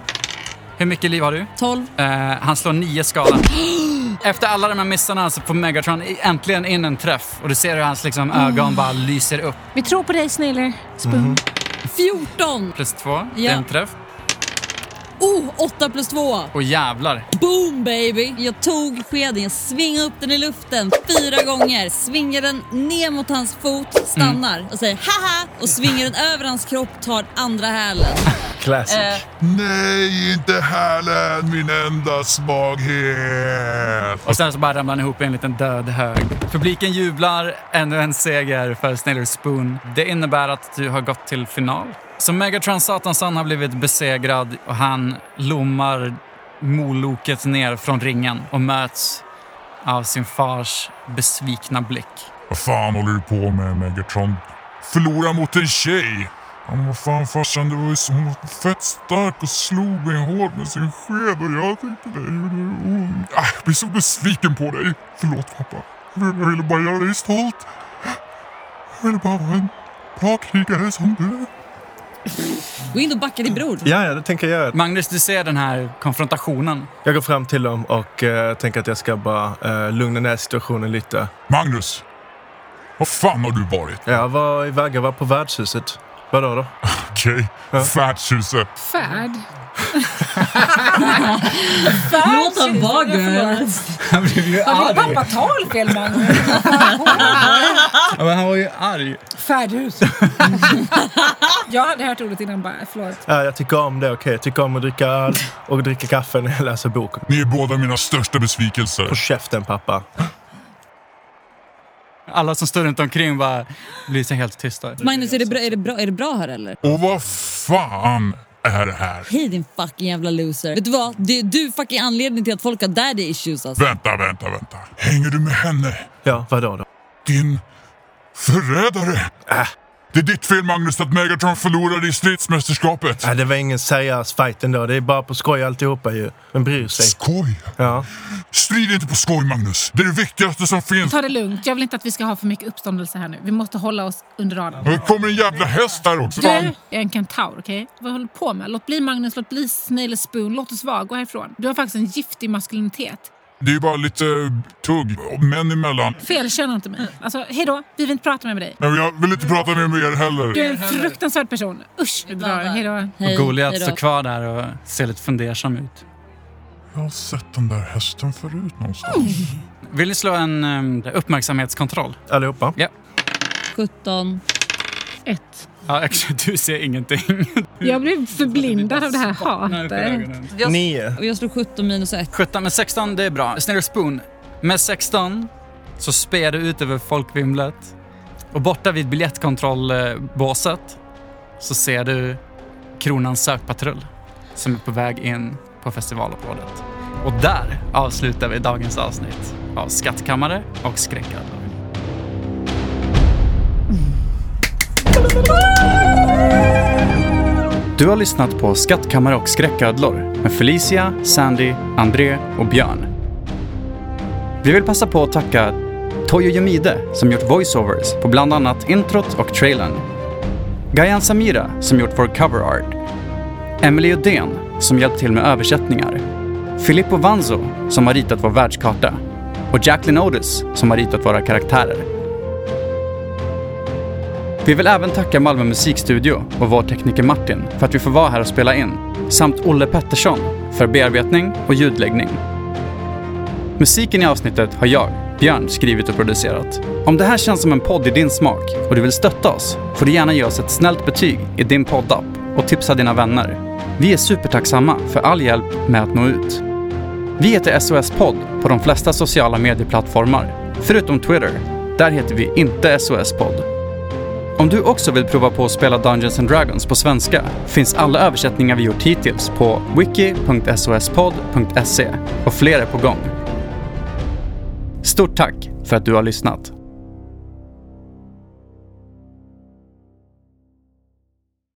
Hur mycket liv har du? 12. Eh, han slår nio skada. (gasps) Efter alla de här missarna så får Megatron i- äntligen in en träff och du ser hur hans liksom, Mm. ögon bara lyser upp. Vi tror på dig Snailer. Spoon. 14. Plus två, det Ja. är en träff. Oh, 8 plus 2. Och jävlar, Boom baby! Jag tog skeden, jag svingade upp den i luften fyra gånger, svingar den ner mot hans fot, stannar och säger haha och svingar den över hans kropp, tar andra hälen. Classic. Eh. Nej, inte hälen, min enda svaghet. Och sen så bara ramlar han ihop i en liten död hög. Publiken jublar, ännu en seger för Snailer Spoon. Det innebär att du har gått till final. Så Megatron Satansan har blivit besegrad och han lommar moloket ner från ringen och möts av sin fars besvikna blick. Vad fan håller du på med Megatron? Förlora mot en tjej? Ja, men vad fan farsan, det var ju så, hon var fett stark och slog mig hårt med sin sked och jag tänkte det gjorde ont. Ah, Jag blir så besviken på dig. Förlåt pappa. Jag ville- jag ville bara göra dig stolt. Jag ville bara vara en bra krigare som du är. Gå in och backa din bror. Ja, ja, det tänker jag göra. Magnus, du ser den här konfrontationen. (laughs) Jag går fram till dem och eh, tänker att jag ska bara eh, lugna ner situationen lite. Magnus! Vad fan har du varit? Jag var iväg, jag var på värdshuset. Vadå då? Okej, okay. Färdshuset. Färd. Låt han vara gud. Han blev ju Har din pappa talfel Magnus? Men han var ju arg. Färdhus. jag hade hört ordet innan bara, förlåt. Ja, jag tycker om det, okej. Jag tycker om att dricka öl och dricka kaffe när jag läser bok. Ni är båda mina största besvikelser. På käften pappa. Alla som står runt omkring bara blir så helt tysta. Magnus, är det, bra, är, det bra, är det bra här eller? Och vad fan är det här? Hej din fucking jävla loser. Vet du vad? Det är du fucking anledningen till att folk har daddy issues alltså. Vänta, vänta, vänta. Hänger du med henne? Ja, vadå då? Din förrädare! Det är ditt fel, Magnus, att Megatron förlorade i stridsmästerskapet. Ja, det var ingen seriös fight ändå. Det är bara på skoj alltihopa ju. Men bryr sig? Skoj! Ja. Strid inte på skoj, Magnus. Det är det viktigaste som finns. Ta det lugnt. Jag vill inte att vi ska ha för mycket uppståndelse här nu. Vi måste hålla oss under radarn. Och Det kommer en jävla häst här också. Du Fan. är en kentaur, okej? Vad håller du på med? Låt bli Magnus, låt bli Snail Spoon, låt oss vara, gå härifrån. Du har faktiskt en giftig maskulinitet. Det är bara lite eh, tugg män emellan. Felkänna inte mig. Alltså, hejdå, vi vill inte prata mer med dig. Men jag vill inte prata mer med er Du heller. är en fruktansvärd person. Usch, vi drar. Hejdå. Hej, Och Goliat hejdå. står kvar där och ser lite fundersam ut. Jag har sett den där hästen förut någonstans. Vill ni slå en ehm, um, uppmärksamhetskontroll? Allihopa? 17. Ett. Ja, (laughs) actually, du ser ingenting. Jag blev förblindad av det här hatet. Jag- Nio. Och jag slog 17 minus 1. 17 men 16, det är bra. Snälla Spoon. Med 16 så spär du ut över folkvimlet. Och borta vid biljettkontrollbåset så ser du Kronans sökpatrull som är på väg in på festivalområdet. Och där avslutar vi dagens avsnitt av Skattkammare och Skräckad. Du har lyssnat på Skattkammare och skräcködlor med Felicia, Sandy, André och Björn. Vi vill passa på att tacka Toyo Yamide som gjort voiceovers på bland annat introt och trailern. Gayan Samira som gjort vår cover art. Emily Odén som hjälpt till med översättningar. Filippo Vanzo som har ritat vår världskarta. Och Jacqueline Otis som har ritat våra karaktärer. Vi vill även tacka Malmö musikstudio och vår tekniker Martin för att vi får vara här och spela in, samt Olle Pettersson för bearbetning och ljudläggning. Musiken i avsnittet har jag, Björn, skrivit och producerat. Om det här känns som en podd i din smak och du vill stötta oss får du gärna ge oss ett snällt betyg i din poddapp och tipsa dina vänner. Vi är supertacksamma för all hjälp med att nå ut. Vi heter SOS Podd på de flesta sociala medieplattformar, förutom Twitter. Där heter vi inte SOS Podd. Om du också vill prova på att spela Dungeons and Dragons på svenska finns alla översättningar vi gjort hittills på e. wiki.sospod.se och fler är på gång. Stort tack för att du har lyssnat.